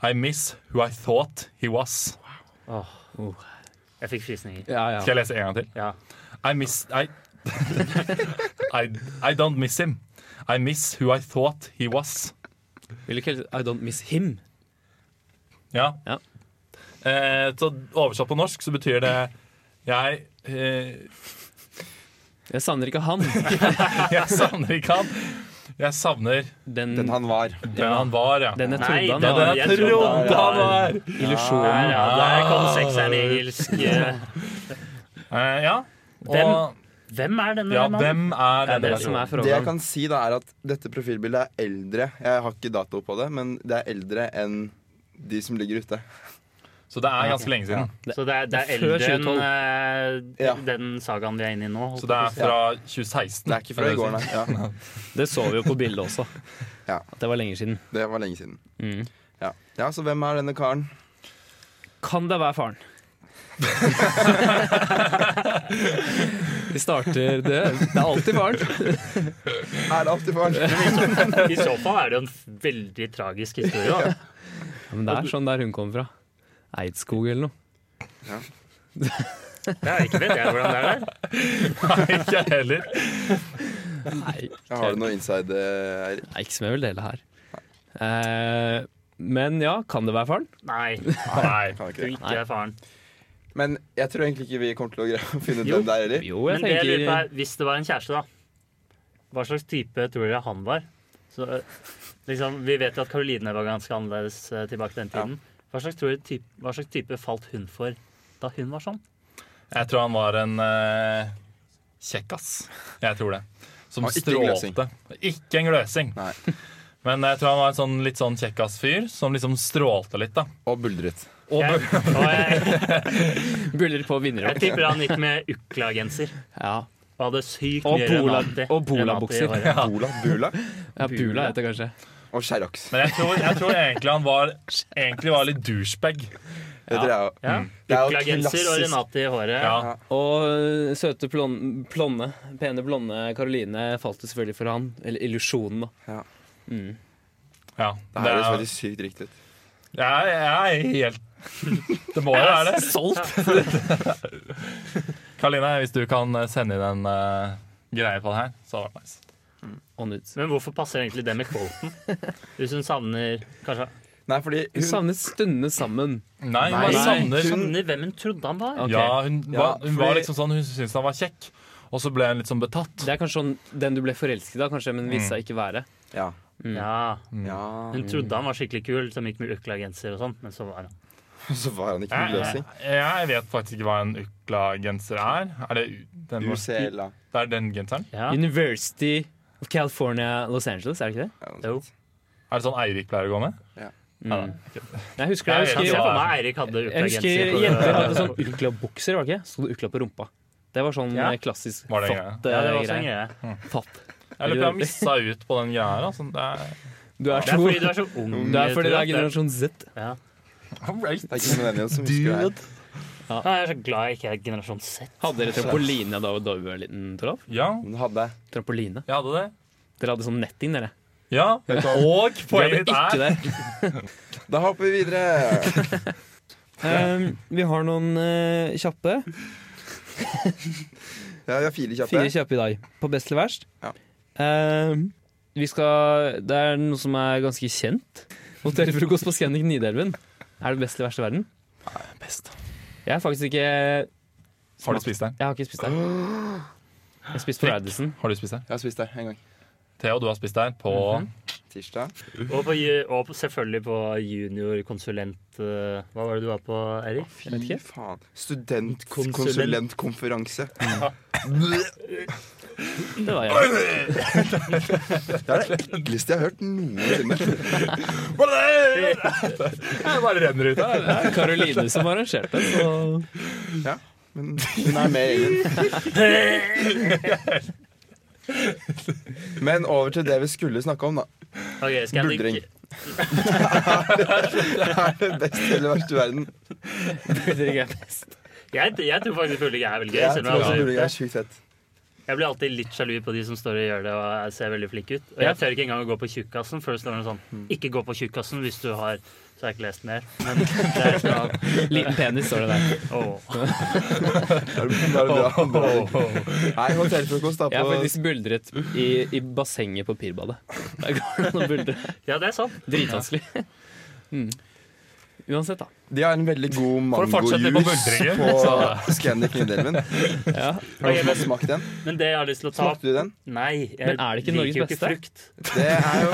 Speaker 3: I miss who I thought he was.
Speaker 1: Åh, oh. Jeg fikk frysninger.
Speaker 4: Ja, ja.
Speaker 3: Skal jeg lese en gang til?
Speaker 1: Ja.
Speaker 3: I miss I, (laughs) I, I don't miss him. I miss who I thought he was.
Speaker 4: Vil du ikke helst I don't miss him?
Speaker 3: Ja.
Speaker 4: Ja.
Speaker 3: Eh, så oversatt på norsk så betyr det jeg, eh, (laughs)
Speaker 4: Jeg savner ikke
Speaker 2: (laughs)
Speaker 4: han.
Speaker 3: jeg savner ikke han. Jeg savner
Speaker 4: Den,
Speaker 2: den han var.
Speaker 3: den han var, ja.
Speaker 4: den jeg
Speaker 1: Nei,
Speaker 4: trodde han
Speaker 1: den
Speaker 4: var.
Speaker 3: Den jeg trodde han var.
Speaker 1: Der,
Speaker 4: Illusjonen.
Speaker 1: ja, der kom sekseren i engelsk.
Speaker 3: Eh, ja.
Speaker 1: Hvem?
Speaker 3: Og
Speaker 1: Hvem er denne
Speaker 3: ja,
Speaker 1: mannen?
Speaker 3: hvem er
Speaker 4: Det er det
Speaker 3: denne
Speaker 4: som er
Speaker 3: personen?
Speaker 2: Det jeg
Speaker 4: frågan.
Speaker 2: kan si, da, er at dette profilbildet er eldre. Jeg har ikke dato på det, men det er eldre enn de som ligger ute.
Speaker 3: Så det er ganske lenge siden.
Speaker 1: Så det er, det er
Speaker 4: Det er før
Speaker 1: eldre enn
Speaker 4: 2012.
Speaker 1: eh,
Speaker 2: Ja.
Speaker 1: den sagaen vi er inne i nå. holdt
Speaker 3: Så det
Speaker 1: jeg
Speaker 3: er
Speaker 1: på å si.
Speaker 3: fra 2016.
Speaker 2: Det er ikke fra i går, nei. Ja,
Speaker 4: Det så vi jo på bildet også.
Speaker 2: (laughs) Ja.
Speaker 4: At det var lenge siden.
Speaker 2: det var lenge siden.
Speaker 4: Mm.
Speaker 2: Ja. ja, så hvem er denne karen?
Speaker 4: Kan det være
Speaker 2: (laughs)
Speaker 4: faren? Vi starter det. Det er alltid faren.
Speaker 2: Er det alltid faren?
Speaker 1: I så fall er det jo en f- veldig tragisk historie. Da.
Speaker 4: Ja, men det er sånn der hun kom fra. Eidskog eller noe.
Speaker 1: Det er ikke vet jeg hvordan det er der.
Speaker 3: Nei, ikke jeg heller.
Speaker 4: Nei,
Speaker 2: Ja, Har du noe inside, eh, Eirik?
Speaker 4: det er ikke som jeg vil dele her. Eh, men ja, kan det være faren?
Speaker 1: Nei,
Speaker 3: Nei.
Speaker 2: Kan ikke
Speaker 1: du
Speaker 2: det.
Speaker 1: ikke er faren.
Speaker 2: Men jeg tror egentlig ikke vi kommer til å greie å finne ut
Speaker 4: Jo.
Speaker 2: hvem det er heller.
Speaker 4: Jo, jeg
Speaker 1: Men det jeg lurer på
Speaker 4: tenker
Speaker 1: er, hvis det var en kjæreste, da. Hva slags type tror dere han var? Så, eh, liksom, vi vet jo at Karoline var ganske annerledes eh, tilbake den tiden. Hva, slags tror dere typ- hva slags type falt hun for da hun var sånn?
Speaker 3: Jeg tror han var en uh, kjekkas. Jeg tror det. Som
Speaker 2: Han var ikke en gløsing.
Speaker 3: strålte. Ikke en gløsing.
Speaker 2: Nei.
Speaker 3: Men jeg tror han var en sånn, litt sånn kjekkas-fyr som liksom strålte litt, da.
Speaker 2: Og buldret.
Speaker 3: Og
Speaker 1: Jeg,
Speaker 3: bø-
Speaker 1: og jeg,
Speaker 4: (laughs) buller på vinner.
Speaker 1: jeg tipper han gikk med Ukla-genser.
Speaker 4: Ja.
Speaker 1: Og hadde sykt
Speaker 4: Og
Speaker 1: mye
Speaker 4: bola-
Speaker 1: Renate-
Speaker 4: og bolabukser.
Speaker 1: Renate i håret.
Speaker 2: Bola, Bula
Speaker 4: ja, Bula heter det kanskje.
Speaker 2: og Sherrox.
Speaker 3: Men jeg tror, jeg tror egentlig
Speaker 2: (laughs)
Speaker 3: han var, egentlig var litt douchebag.
Speaker 2: Det tror jeg òg.
Speaker 1: Ja.
Speaker 2: Det er jo
Speaker 1: Ukla-genser og
Speaker 2: klassisk.
Speaker 1: Renate i håret.
Speaker 3: Ja.
Speaker 4: Og øh, søte blonde, blonde pene blonde Karoline falt jo selvfølgelig for han. Eller illusjonen, da.
Speaker 3: ja.
Speaker 2: Det
Speaker 3: Det
Speaker 2: her høres
Speaker 3: er,
Speaker 2: veldig sykt riktig ut.
Speaker 3: jeg, jeg er helt Det må jo være det. (laughs)
Speaker 4: Solgt!
Speaker 3: Karoline, hvis du kan sende inn en eh, greie på det her, så hadde det vært nice.
Speaker 4: On ut.
Speaker 1: Men hvorfor passer egentlig det med kvoten? Hvis hun savner kanskje
Speaker 2: Nei, fordi
Speaker 4: Hun
Speaker 2: hun,
Speaker 4: savnet stundene sammen.
Speaker 3: Nei, hun
Speaker 4: Nei.
Speaker 3: var savner
Speaker 1: Savner hvem hun trodde han var?
Speaker 4: Ok.
Speaker 3: Ja, hun,
Speaker 2: Ja,
Speaker 3: var, hun var
Speaker 2: fordi-
Speaker 3: liksom sånn Hun syntes han var kjekk, og så ble hun litt sånn betatt.
Speaker 4: Det er kanskje sånn, den du ble forelsket av, kanskje, men viste seg ikke være.
Speaker 2: ja.
Speaker 1: Ja,
Speaker 2: ja. (laughs)
Speaker 1: Hun trodde han var skikkelig kul, som gikk med ukla-genser og sånn, men så var han
Speaker 2: Så var han ikke
Speaker 3: Jeg,
Speaker 2: noen løsning.
Speaker 3: jeg, jeg vet faktisk ikke hva en Ukla-genser er. Er det u- den,
Speaker 2: UCLA.
Speaker 3: det er den genseren?
Speaker 1: ja.
Speaker 4: University of California, Los Angeles, er det ikke det?
Speaker 1: Jo.
Speaker 3: Er det sånn Eirik pleier å gå med?
Speaker 4: Jeg Mm. husker,
Speaker 1: Jeg
Speaker 4: jeg
Speaker 1: husker, jeg
Speaker 4: husker,
Speaker 1: ser for meg Eirik hadde
Speaker 4: jeg
Speaker 1: ukla-genser.
Speaker 4: husker
Speaker 1: på-
Speaker 4: jenter hadde sånn ukla-bukser, var det ikke? Stod det ukla på rumpa. Det var sånn
Speaker 1: Ja.
Speaker 4: eh, klassisk
Speaker 3: Var det en greie?
Speaker 1: Ja, det var også en
Speaker 4: fatt-greie.
Speaker 1: greie.
Speaker 4: Fatt.
Speaker 3: Jeg lurer på om jeg missa ut på den greia her. Altså. Det er,
Speaker 4: Du er
Speaker 1: Det er
Speaker 4: så
Speaker 1: fordi du er så ung.
Speaker 4: (laughs) Det er fordi
Speaker 1: tror
Speaker 4: det er
Speaker 1: jeg, at
Speaker 4: generasjon Z.
Speaker 1: det- ja.
Speaker 2: Det er ikke noen venner som husker det her.
Speaker 1: Ja, Jeg er så glad jeg ikke er generasjon Z.
Speaker 4: Hadde dere trampoline da da vi var liten, Toralf?
Speaker 3: Ja,
Speaker 2: Hun hadde
Speaker 4: Trampoline?
Speaker 3: jeg hadde det.
Speaker 4: Dere hadde sånn netting, dere?
Speaker 3: Ja, Og
Speaker 4: Vi hadde
Speaker 3: poenget mitt
Speaker 4: ikke
Speaker 3: er
Speaker 4: det.
Speaker 2: Da hopper vi videre.
Speaker 4: Ehm, vi har noen eh, kjappe.
Speaker 2: Ja, vi har fire kjappe.
Speaker 4: Fire kjappe i dag. På best eller verst.
Speaker 2: Ja.
Speaker 4: Ehm, vi skal, det er noe som er ganske kjent. Hotellfrokost på Scandic Nidelven. Er det best eller verste i verden?
Speaker 3: Best.
Speaker 4: Jeg har faktisk ikke Jeg
Speaker 3: Har du spist den?
Speaker 4: har ikke spist der. Jeg spiste på Radisson.
Speaker 3: Har du spist den?
Speaker 2: Jeg har spist der en gang.
Speaker 3: Theo, du har spist den på
Speaker 1: Mhm.
Speaker 2: Tirsdag.
Speaker 1: Og, på, ju- og på, selvfølgelig på juniorkonsulent eh, Hva var det du var på, Erik?
Speaker 4: Jeg vet ikke.
Speaker 2: Faen.
Speaker 1: Konsulent.
Speaker 2: Studentkonsulentkonferanse.
Speaker 4: Det var jeg.
Speaker 2: Det er det ekleste jeg har hørt noensinne.
Speaker 3: Det bare renner ut her.
Speaker 4: Det er Karoline som arrangerte det, så
Speaker 2: Ja, men hun er med i gjengen. Men over til det vi skulle snakke om, da.
Speaker 1: Ok, Scandic-
Speaker 2: Buldring. Er det best eller verst i verden?
Speaker 4: Buldring er best.
Speaker 1: Jeg, jeg tror faktisk buldring er veldig gøy.
Speaker 2: Jeg
Speaker 1: selv
Speaker 2: tror
Speaker 1: om
Speaker 2: også
Speaker 1: jeg,
Speaker 2: buldring er
Speaker 1: aldri-
Speaker 2: sjukt fett.
Speaker 1: jeg blir alltid litt sjalu på de som står og gjør det og ser veldig flinke ut. Og
Speaker 4: Ja.
Speaker 1: jeg tør ikke engang å gå på tjukkasen, for det står noe
Speaker 2: Mm.
Speaker 1: sånn Ikke gå på tjukkasen hvis du har Så har jeg ikke lest mer. Men det er sånn
Speaker 4: Liten penis står det der.
Speaker 1: Åh.
Speaker 2: Det er bare bra. Nei, hotellfrokost da
Speaker 4: Jeg har
Speaker 2: på
Speaker 4: faktisk buldret i, i bassenget på Pirbadet. Der går det an å buldre.
Speaker 1: Ja, det er sant.
Speaker 4: Dritvanskelig. Mm. Uansett, da.
Speaker 2: De har en veldig god
Speaker 3: For å fortsette på
Speaker 2: mangojuice
Speaker 3: buldringen,
Speaker 2: på
Speaker 3: så-
Speaker 2: Scandic Nidelven.
Speaker 4: Ja.
Speaker 2: Har du fått smakt den?
Speaker 1: Men det jeg har lyst til å ta opp
Speaker 2: Smakte du den?
Speaker 1: Nei, jeg
Speaker 4: Men er det ikke Norges
Speaker 1: liker jo
Speaker 4: beste?
Speaker 1: ikke frukt.
Speaker 2: Det er jo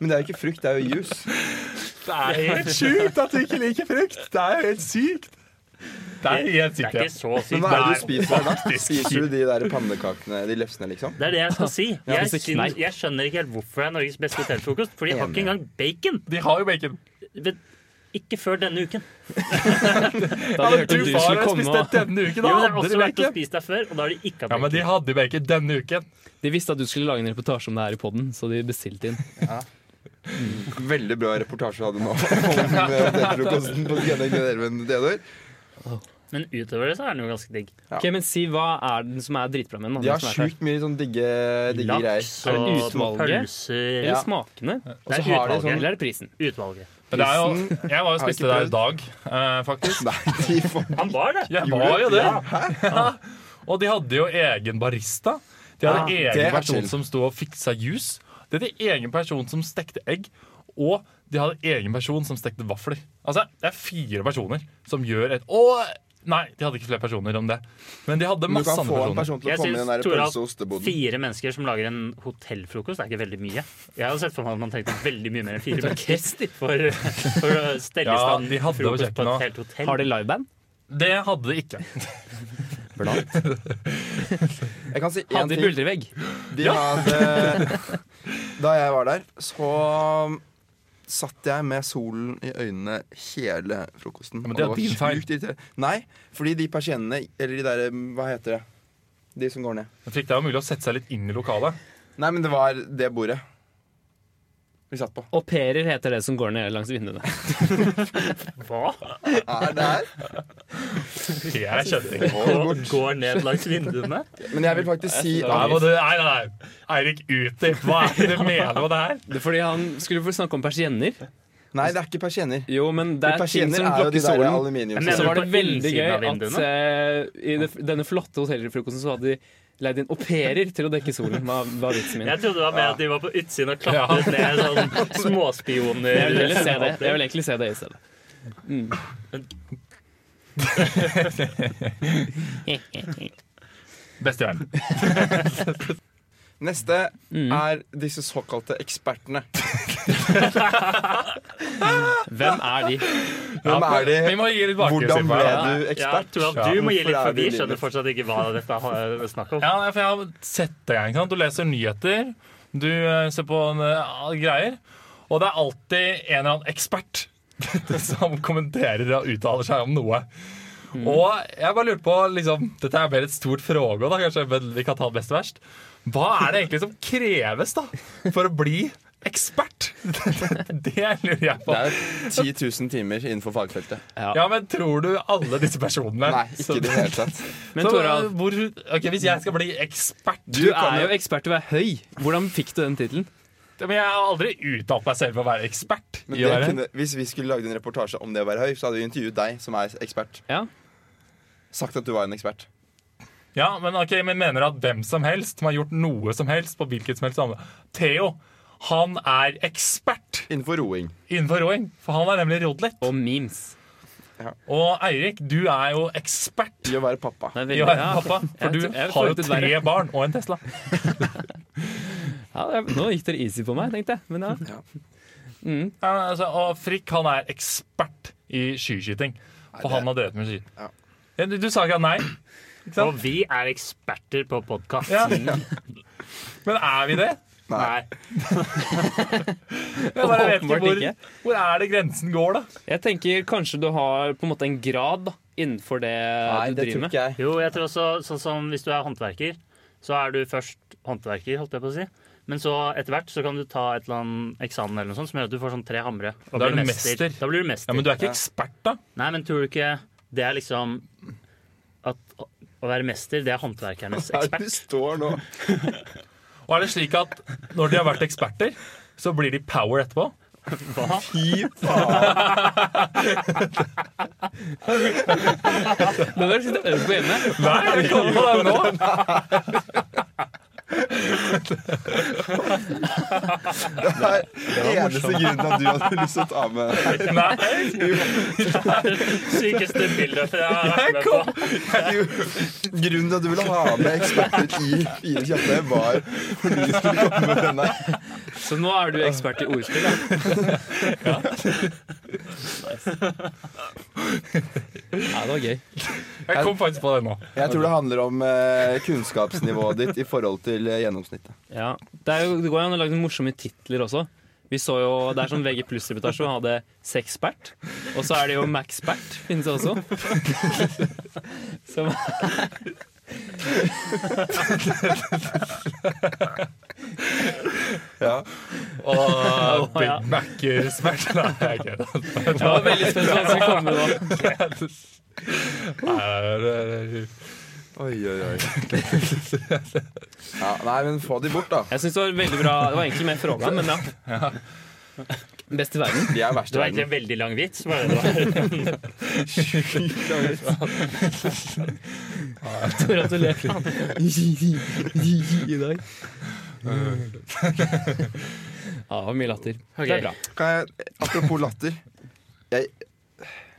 Speaker 2: Men det er jo ikke frukt, det er jo juice.
Speaker 3: Det er helt
Speaker 4: (laughs)
Speaker 3: sjukt at du ikke liker frukt! Det er jo helt sykt! Det er
Speaker 1: Det
Speaker 3: helt sykt,
Speaker 1: er ikke så sykt.
Speaker 2: Men hva er det du
Speaker 3: Det er
Speaker 2: spiser da?
Speaker 3: faktisk
Speaker 2: Spiser du de der pannekakene, de lefsene, liksom?
Speaker 1: Det er det jeg skal si.
Speaker 4: (laughs) Ja,
Speaker 1: Jeg,
Speaker 4: hvis det
Speaker 1: syns-
Speaker 4: kneipp.
Speaker 1: jeg skjønner ikke helt hvorfor det er Norges beste hotellfrokost. For de har ikke
Speaker 2: Enig.
Speaker 1: engang bacon.
Speaker 3: De har jo bacon.
Speaker 1: Ved- Ikke før denne uken.
Speaker 4: Da hadde jeg hørt om du skulle komme
Speaker 3: spist
Speaker 4: og
Speaker 3: det denne uken,
Speaker 1: Jo,
Speaker 3: da
Speaker 1: men det har
Speaker 3: hadde
Speaker 1: også
Speaker 3: de
Speaker 1: vært å
Speaker 3: bacon.
Speaker 1: spise der før, og da har de ikke hatt
Speaker 3: Ja, men de
Speaker 1: bacon.
Speaker 3: hadde bacon denne uken.
Speaker 4: De visste at du skulle lage en reportasje om det her i poden, så de bestilte inn.
Speaker 2: Veldig bra reportasje du hadde nå (laughs) om eh, hotellfrokosten på Scandic Nidelven. Theodor.
Speaker 1: Men utover det så er den jo ganske digg.
Speaker 2: Ja.
Speaker 4: Ok, men Si hva er den som er dritbra med den? da,
Speaker 2: De har
Speaker 4: den som er her?
Speaker 2: sjukt mye sånn digge, digge greier.
Speaker 1: Laks
Speaker 4: Er det
Speaker 1: og
Speaker 4: utvalget?
Speaker 1: pølser
Speaker 4: Eller
Speaker 2: Ja.
Speaker 4: smakene?
Speaker 2: Og så
Speaker 1: det er
Speaker 2: har de
Speaker 1: utvalget.
Speaker 2: sånn
Speaker 4: Eller er det prisen?
Speaker 1: Utvalget.
Speaker 3: Men det er jo, jeg var jo
Speaker 2: Har
Speaker 3: spiste
Speaker 2: ikke
Speaker 3: der i dag, eh, faktisk.
Speaker 2: (laughs) Nei, de får
Speaker 1: Han var det!
Speaker 3: Jeg
Speaker 2: Gjorde
Speaker 3: var jo
Speaker 2: du?
Speaker 3: det.
Speaker 1: Ja.
Speaker 3: Ja. Og de hadde jo egen barista. De hadde
Speaker 1: Ja,
Speaker 2: det er
Speaker 3: egen person
Speaker 2: chill.
Speaker 3: som sto og fiksa juice. De hadde egen person som stekte egg. Og de hadde egen person som stekte vafler. Altså, Det er fire personer som gjør et Å! Nei, de hadde ikke flere personer om det. Men de hadde
Speaker 2: Men Du
Speaker 3: masse
Speaker 2: kan
Speaker 3: andre
Speaker 2: få en
Speaker 3: personer.
Speaker 2: person til å
Speaker 1: Jeg
Speaker 2: komme i den
Speaker 1: syns
Speaker 2: der
Speaker 1: Tora,
Speaker 2: pølse- og osteboden.
Speaker 1: fire mennesker som lager en hotellfrokost, er ikke veldig mye. Jeg hadde sett for meg at man tenkte veldig mye mer enn fire mennesker for, for å stelle i
Speaker 3: Ja,
Speaker 1: stand
Speaker 3: de hadde jo
Speaker 1: frokost på
Speaker 3: kjøkken
Speaker 1: et helt hotell.
Speaker 4: Har de liveband?
Speaker 3: Det hadde de ikke.
Speaker 2: Jeg kan si én
Speaker 4: Hadde de
Speaker 2: ting.
Speaker 4: buldrevegg?
Speaker 2: De hadde, (laughs) da jeg var der, så um, satt jeg med solen i øynene hele frokosten.
Speaker 3: men
Speaker 2: Og
Speaker 3: det er din feil.
Speaker 2: sjukt irriterende. Nei, fordi de persiennene, eller de derre Hva heter det? De som går ned.
Speaker 3: Men fikk det jo mulig å sette seg litt inn i lokalet.
Speaker 2: Nei, men det var det bordet vi satt på.
Speaker 4: Au pairer heter det som går ned langs vinduene.
Speaker 1: Hva?
Speaker 2: Er det her?
Speaker 3: Jeg
Speaker 1: (laughs)
Speaker 3: skjønte ikke.
Speaker 1: Går, går ned langs vinduene?
Speaker 2: Men jeg vil faktisk si
Speaker 3: Nei,
Speaker 2: at
Speaker 3: må du, nei, nei, nei. Eirik utdyp. Hva er det du mener med det her?
Speaker 4: Det er fordi han skulle få snakke om persienner.
Speaker 2: Nei, det er ikke persienner.
Speaker 4: Jo, men det er ting
Speaker 2: Persienner
Speaker 4: som
Speaker 2: er jo
Speaker 4: blokker
Speaker 2: de der
Speaker 4: solen.
Speaker 2: aluminiums...
Speaker 1: Men-
Speaker 4: Så var det
Speaker 1: På
Speaker 4: veldig gøy
Speaker 1: innsiden av
Speaker 4: at eh, i det, denne flotte hotellfrokosten så hadde de leid inn au pairer til å dekke solen. Hva var vitsen min?
Speaker 1: Jeg trodde det var med at de var på utsiden og klatret ned sånn småspioner.
Speaker 4: Jeg vil heller se det. Jeg vil egentlig se det i stedet.
Speaker 3: Beste i verden.
Speaker 2: Neste
Speaker 4: Mm.
Speaker 3: Mm.
Speaker 2: er disse såkalte ekspertene.
Speaker 4: Hvem er de?
Speaker 2: Hvem er de?
Speaker 3: Vi må gi litt
Speaker 2: Hvordan
Speaker 3: bakgrunn.
Speaker 2: ble
Speaker 3: Ja,
Speaker 2: du
Speaker 1: Jeg
Speaker 2: ekspert?
Speaker 1: tror at du
Speaker 2: Ja,
Speaker 1: må gi litt
Speaker 2: hvorfor er
Speaker 1: forbi.
Speaker 2: vi livet?
Speaker 1: Skjønner fortsatt ikke hva dette er snakk om.
Speaker 3: nei, for jeg har sett det en gang. Du leser nyheter, du eh, ser på en, eh, greier, og det er alltid en eller annen ekspert (laughs) som kommenterer og uttaler seg om noe.
Speaker 4: Mm.
Speaker 3: Og jeg bare lurer på, liksom, dette er mer et stort fråge, da, kanskje, men vi kan ta det best og verst. Hva er det egentlig som kreves da, for å bli ekspert? (laughs) Det lurer jeg på.
Speaker 2: Det er 10 000 timer innenfor fagfeltet.
Speaker 3: Ja, men tror du alle disse personene? eh,
Speaker 2: Nei, ikke i det hele (laughs) tatt.
Speaker 4: Men Toralf,
Speaker 3: hvor, ok, Hvis jeg skal bli ekspert
Speaker 4: Du er jo ekspert i å være høy. Hvordan fikk du den tittelen?
Speaker 3: Men jeg har aldri uttalt meg selv for å være ekspert.
Speaker 2: Men
Speaker 3: i
Speaker 2: det
Speaker 3: å være-
Speaker 2: kunne, hvis vi skulle lagd en reportasje om det å være høy, så hadde vi intervjuet deg, som er ekspert.
Speaker 4: Ja.
Speaker 2: Sagt at du var en ekspert.
Speaker 3: Ja, men, ok, men mener at hvem som helst som har gjort noe som helst på hvilket som helst område Theo, han er ekspert
Speaker 2: Innenfor roing.
Speaker 3: innenfor roing, for han er nemlig rodd litt.
Speaker 4: Og memes.
Speaker 3: Og Eirik, du er jo ekspert
Speaker 2: I å være pappa.
Speaker 4: Det er
Speaker 3: i
Speaker 4: veldig-
Speaker 3: å være
Speaker 4: ja,
Speaker 3: pappa,
Speaker 4: jeg
Speaker 3: for du
Speaker 4: tror- jeg
Speaker 3: har jo
Speaker 4: følte
Speaker 3: tre
Speaker 4: verre.
Speaker 3: barn og en Tesla.
Speaker 4: Ja, det er- nå gikk dere easy på meg, tenkte jeg. Men ja.
Speaker 2: Ja.
Speaker 3: Ja, men altså, og Frikk han er ekspert i skiskyting, for
Speaker 2: det-
Speaker 3: han har drevet med ski.
Speaker 2: Ja.
Speaker 3: Ja, du, du sa ikke at nei, sant?
Speaker 1: Og vi er eksperter på podkast.
Speaker 3: Ja. (laughs) men er vi det?
Speaker 1: Nei.
Speaker 4: (laughs)
Speaker 3: Jeg bare vet ikke
Speaker 4: Åpenbart
Speaker 3: hvor,
Speaker 4: ikke.
Speaker 3: hvor er det grensen går, da?
Speaker 4: Jeg tenker kanskje du har på en måte en grad da, innenfor det du driver med.
Speaker 2: jeg.
Speaker 1: Jo, jeg tror også sånn som hvis du er håndverker, så er du først håndverker, holdt jeg på å si. Men så etter hvert så kan du ta et eller annet eksamen eller noe sånt som gjør at du får sånn tre hamre. Og
Speaker 3: Da er
Speaker 1: blir
Speaker 3: du mester.
Speaker 1: Da blir du mester.
Speaker 3: Ja, Men du er ikke ekspert, da?
Speaker 1: Nei, men tror du ikke det er liksom at å- å være mester, det er
Speaker 3: (laughs)
Speaker 1: håndverkernes
Speaker 2: Hva er
Speaker 1: ekspert?
Speaker 2: det du står (laughs) nå?
Speaker 3: Og er det slik at når de har vært eksperter, så blir de power etterpå?
Speaker 1: Hva?
Speaker 2: Fy faen.
Speaker 4: Men det er litt øvd på hjemme.
Speaker 3: (laughs) Nei, jeg kom på det nå!
Speaker 2: Det er eneste grunnen til at du hadde lyst til å ta med deg.
Speaker 3: Nei,
Speaker 1: (laughs) Sykeste bildet fra
Speaker 3: (laughs) jeg kom.
Speaker 2: (laughs) Jo, Grunnen til at du ville ha med eksperter i Fire kjappe, var fordi de skulle komme med denne.
Speaker 4: Så nå er du ekspert i ordspill. Da. Ja, det var gøy.
Speaker 3: Jeg kom faktisk på det nå.
Speaker 2: Jeg tror det handler om eh, kunnskapsnivået ditt i forhold til eh, gjennomsnittet.
Speaker 4: Ja. Det, er jo, det går jo an å lage noen morsomme titler også. Vi så jo, Det er sånn VG pluss-reportasje som hadde Sexpert. Og så er det jo Maxpert, finnes det også. Som
Speaker 2: Ja.
Speaker 3: (laughs) Og
Speaker 4: Å, ja.
Speaker 3: Big Mac-er smerter. Nei, jeg kødder.
Speaker 4: jeg var veldig spent på hva som kom med nå.
Speaker 3: Nei, det er-
Speaker 2: Oi, oi, oi. Ja, nei, men få de bort, da.
Speaker 4: Jeg synes det var veldig bra. Det var egentlig mer frågan, men ja. Best i verden.
Speaker 2: De er verst
Speaker 1: Det
Speaker 2: i
Speaker 1: var egentlig en
Speaker 2: verden.
Speaker 1: veldig lang vits. Var det det
Speaker 3: (laughs)
Speaker 1: var.
Speaker 4: Gratulerer. (laughs) I dag. (laughs) Ja, det var mye latter. Det
Speaker 1: Ok.
Speaker 4: er bra.
Speaker 2: Kan jeg, apropos latter. Jeg,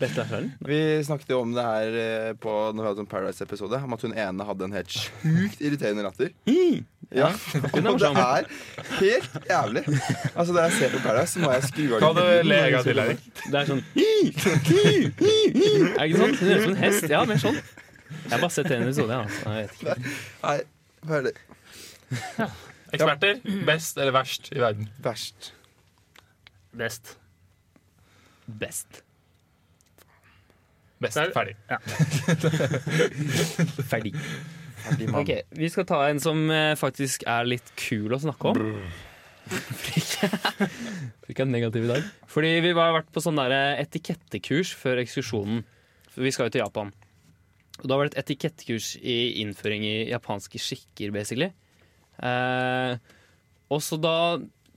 Speaker 4: Dette er skjønn.
Speaker 2: vi snakket jo om det her eh, på når vi hadde en Paradise-episode, om at hun ene hadde en helt sjukt irriterende latter. Mm. Ja,
Speaker 4: Hun er
Speaker 2: (laughs) Og det
Speaker 4: morsom.
Speaker 2: er helt jævlig. Altså, Når jeg ser på Paradise, så må jeg skru av
Speaker 3: Kan du
Speaker 2: lyden.
Speaker 3: le en gang til, Erik?
Speaker 4: Det er sånn Er det ikke sånn? Hun høres ut som en hest. Ja, mer sånn. Jeg har bare sett en episode, jeg. Altså. Jeg vet ikke.
Speaker 2: Nei, hva er det
Speaker 3: Eksperter, best eller verst i verden?
Speaker 2: verst?
Speaker 1: Best.
Speaker 4: Best.
Speaker 3: Best.
Speaker 1: Der-
Speaker 3: Ferdig.
Speaker 4: Ferdig. Ok, Vi skal ta en som eh, faktisk er litt kul å snakke om. (laughs) For ikke- for ikke en negativ i dag. Fordi vi har vært på sånn der etikettekurs før ekskursjonen. For vi skal jo til Japan. Og da var det et etikettekurs i innføring i japanske skikker, basically. Eh, og så da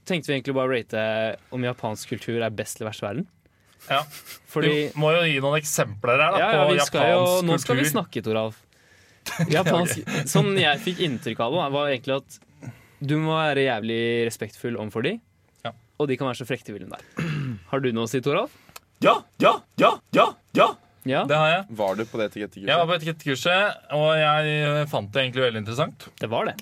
Speaker 4: tenkte vi egentlig bare å rate om japansk kultur er best eller verst i verden.
Speaker 3: Ja.
Speaker 4: Fordi
Speaker 3: Du må jo gi noen eksempler her da,
Speaker 4: ja, ja,
Speaker 3: på
Speaker 4: vi
Speaker 3: japansk
Speaker 4: skal jo,
Speaker 3: kultur.
Speaker 4: Nå skal vi snakke, Toralf. (laughs) Japansk, sånn jeg fikk inntrykk av det, var egentlig at du må være jævlig respektfull overfor de,
Speaker 3: Ja.
Speaker 4: og de kan være så frekke de vil hun der. Har du noe å si, Toralf?
Speaker 3: Ja, ja, ja, ja, ja!
Speaker 4: Ja,
Speaker 3: Det har jeg.
Speaker 2: Var du på det
Speaker 3: Jeg var
Speaker 2: etikettekurset?
Speaker 3: på etikettekurset, og jeg eh, fant det egentlig veldig interessant.
Speaker 4: det var det.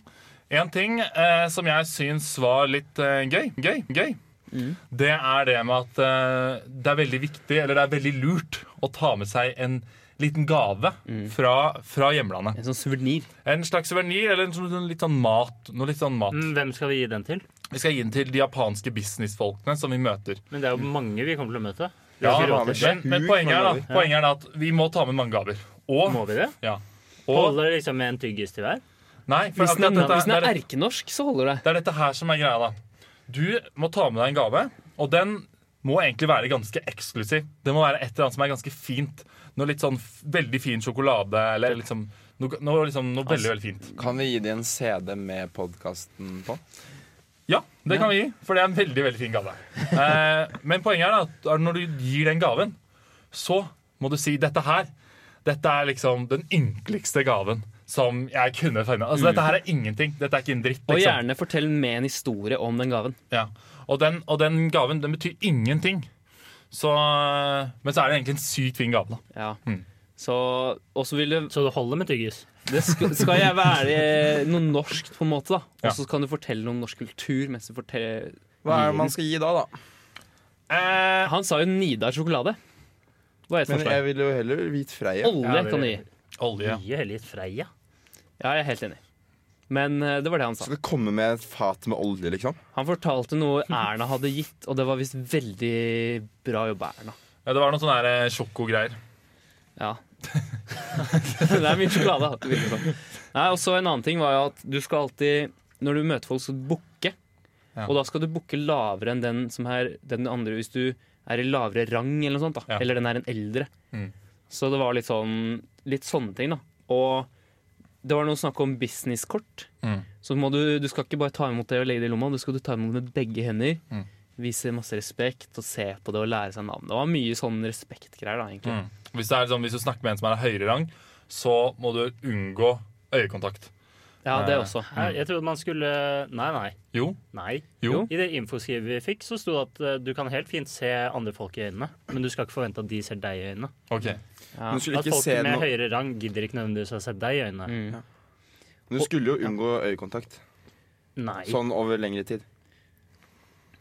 Speaker 3: En ting eh, som jeg syns var litt eh, gøy, gøy, gøy, det er det med at eh, det er veldig viktig, eller det er veldig lurt, å ta med seg en liten gave fra, fra hjemlandet.
Speaker 4: En sånn suvenir.
Speaker 3: En slags suvenir eller en sånn, sånn litt sånn mat. Noe litt sånn mat.
Speaker 1: Mm, Hvem skal vi gi den til?
Speaker 3: Vi skal gi den til de japanske businessfolkene som vi møter.
Speaker 1: Men det er jo mange vi kommer til å møte. Vi
Speaker 3: Mm. Ja,
Speaker 1: har ikke råd
Speaker 2: men-
Speaker 1: til det.
Speaker 3: men, men
Speaker 2: sjukt
Speaker 3: poenget, er da,
Speaker 2: mange gaver.
Speaker 3: poenget er da at vi må ta med mange gaver. Og,
Speaker 1: Må vi det?
Speaker 3: ja, og
Speaker 1: Holder det liksom med en tyggis til hver?
Speaker 3: Nei, for
Speaker 4: Hvis
Speaker 3: akkurat
Speaker 4: den er,
Speaker 3: dette,
Speaker 4: hvis den
Speaker 3: det
Speaker 4: er
Speaker 3: er
Speaker 4: erkenorsk, så holder det.
Speaker 3: Det er dette her som er greia, da. Du må ta med deg en gave, og den må egentlig være ganske eksklusiv. Det må være et eller annet som er ganske fint. Noe litt sånn f- veldig fin sjokolade, eller liksom noe, noe, liksom, noe veldig, veldig fint.
Speaker 2: Kan vi gi dem en CD med podkasten på?
Speaker 3: Ja, det kan vi gi, for det er en veldig, veldig fin
Speaker 4: (laughs)
Speaker 3: gave. Eh, men poenget er at er når du gir den gaven, så må du si dette her. Dette er liksom den ynkeligste gaven. som jeg kunne funnet. Altså, Dette her er ingenting. Dette er ikke en dritt.
Speaker 4: Mm. Og
Speaker 3: Liksom.
Speaker 4: gjerne fortell med en historie om den gaven.
Speaker 3: Ja. Og, den, og den gaven, den betyr ingenting. Så, men så er det egentlig en sykt fin gave, da.
Speaker 4: Ja.
Speaker 3: Mm.
Speaker 4: Så, og så vil det,
Speaker 1: Så det holder med tyggis.
Speaker 4: det skal, skal jeg være noe norskt, på en måte. da
Speaker 3: Ja.
Speaker 4: Og så kan du fortelle noe om norsk kultur. Mens du forteller
Speaker 2: Hva er det man skal gi da, da?
Speaker 3: Eh,
Speaker 4: Han sa jo Nidar sjokolade. Det var et
Speaker 2: Men jeg
Speaker 4: forslag.
Speaker 2: vil jo heller hvit Freia.
Speaker 4: Olje
Speaker 3: Ja, det-
Speaker 4: kan du gi.
Speaker 3: olje.
Speaker 1: Mye heller gitt Freia.
Speaker 4: Ja, jeg er helt enig. Men eh, det var det han sa.
Speaker 2: Skal det komme med et fat med olje, liksom?
Speaker 4: Han fortalte noe Erna hadde gitt, og det var visst veldig bra jobba, Erna.
Speaker 3: Ja, det var noen sånne der, eh, sjokogreier.
Speaker 4: Ja. (laughs) det er mye sjokolade. da, det virker sånn. Nei, og så En annen ting var jo at du skal alltid, når du møter folk, skal du bukke.
Speaker 3: Ja.
Speaker 4: Og da skal du bukke lavere enn den som er den andre, hvis du er i lavere rang eller noe sånt. da
Speaker 3: Ja.
Speaker 4: Eller den er en eldre.
Speaker 3: Mm.
Speaker 4: Så det var litt sånn Litt sånne ting, da. Og det var noe snakk om businesskort.
Speaker 3: Mm.
Speaker 4: Så må du, du skal ikke bare ta imot det og legge det i lomma, du skal du ta imot det med begge hender.
Speaker 3: Mm.
Speaker 4: Vise masse respekt og se på det og lære seg navn. Det var mye sånn respektgreier, da, egentlig.
Speaker 3: Mm. Hvis, det er sånn, hvis du snakker med en som er av høyere rang, så må du unngå øyekontakt.
Speaker 4: Ja, det også.
Speaker 1: Eh, Her, jeg trodde man skulle Nei, nei.
Speaker 3: Jo.
Speaker 1: Nei.
Speaker 3: Jo.
Speaker 1: I det infoskrivet vi fikk, så sto det at eh, du kan helt fint se andre folk i øynene, men du skal ikke forvente at de ser deg i øynene.
Speaker 3: Ok.
Speaker 4: Ja.
Speaker 2: Men du skulle
Speaker 1: At
Speaker 2: ikke
Speaker 1: folk
Speaker 2: se
Speaker 1: med
Speaker 2: noe
Speaker 1: høyere rang gidder ikke nødvendigvis å se deg i øynene.
Speaker 4: Mm.
Speaker 2: Men Du skulle jo unngå øyekontakt.
Speaker 1: Nei.
Speaker 2: Sånn over lengre tid.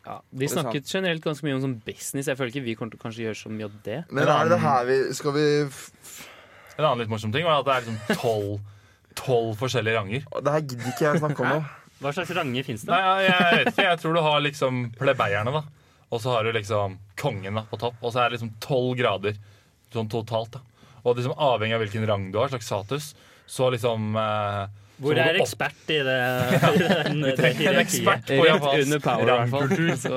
Speaker 4: Ja, de
Speaker 2: det er
Speaker 4: snakket generelt ganske mye om sånn business. Jeg føler ikke vi kommer til å kanskje gjøre så mye av det.
Speaker 2: Men er det her vi Skal vi
Speaker 3: En annen litt morsom ting var at det er liksom tolv tolv forskjellige ranger.
Speaker 2: Det her gidder ikke jeg å snakke om nå.
Speaker 1: Hva slags ranger fins det?
Speaker 3: Nei, ja, jeg vet ikke. Jeg tror du har liksom plebeierne, da. Og så har du liksom kongen da, på topp. Og så er det liksom tolv grader sånn totalt. da. Og liksom avhengig av hvilken rang du har, slags status, så liksom eh,
Speaker 1: Hvor
Speaker 3: så må
Speaker 1: er
Speaker 3: du opp-
Speaker 1: ekspert i det? (laughs) I den, det
Speaker 3: En
Speaker 1: hierarkiet?
Speaker 3: ekspert på
Speaker 4: Rett
Speaker 3: japansk
Speaker 4: under power, i hvert fall.
Speaker 3: rangkultur.
Speaker 4: Så.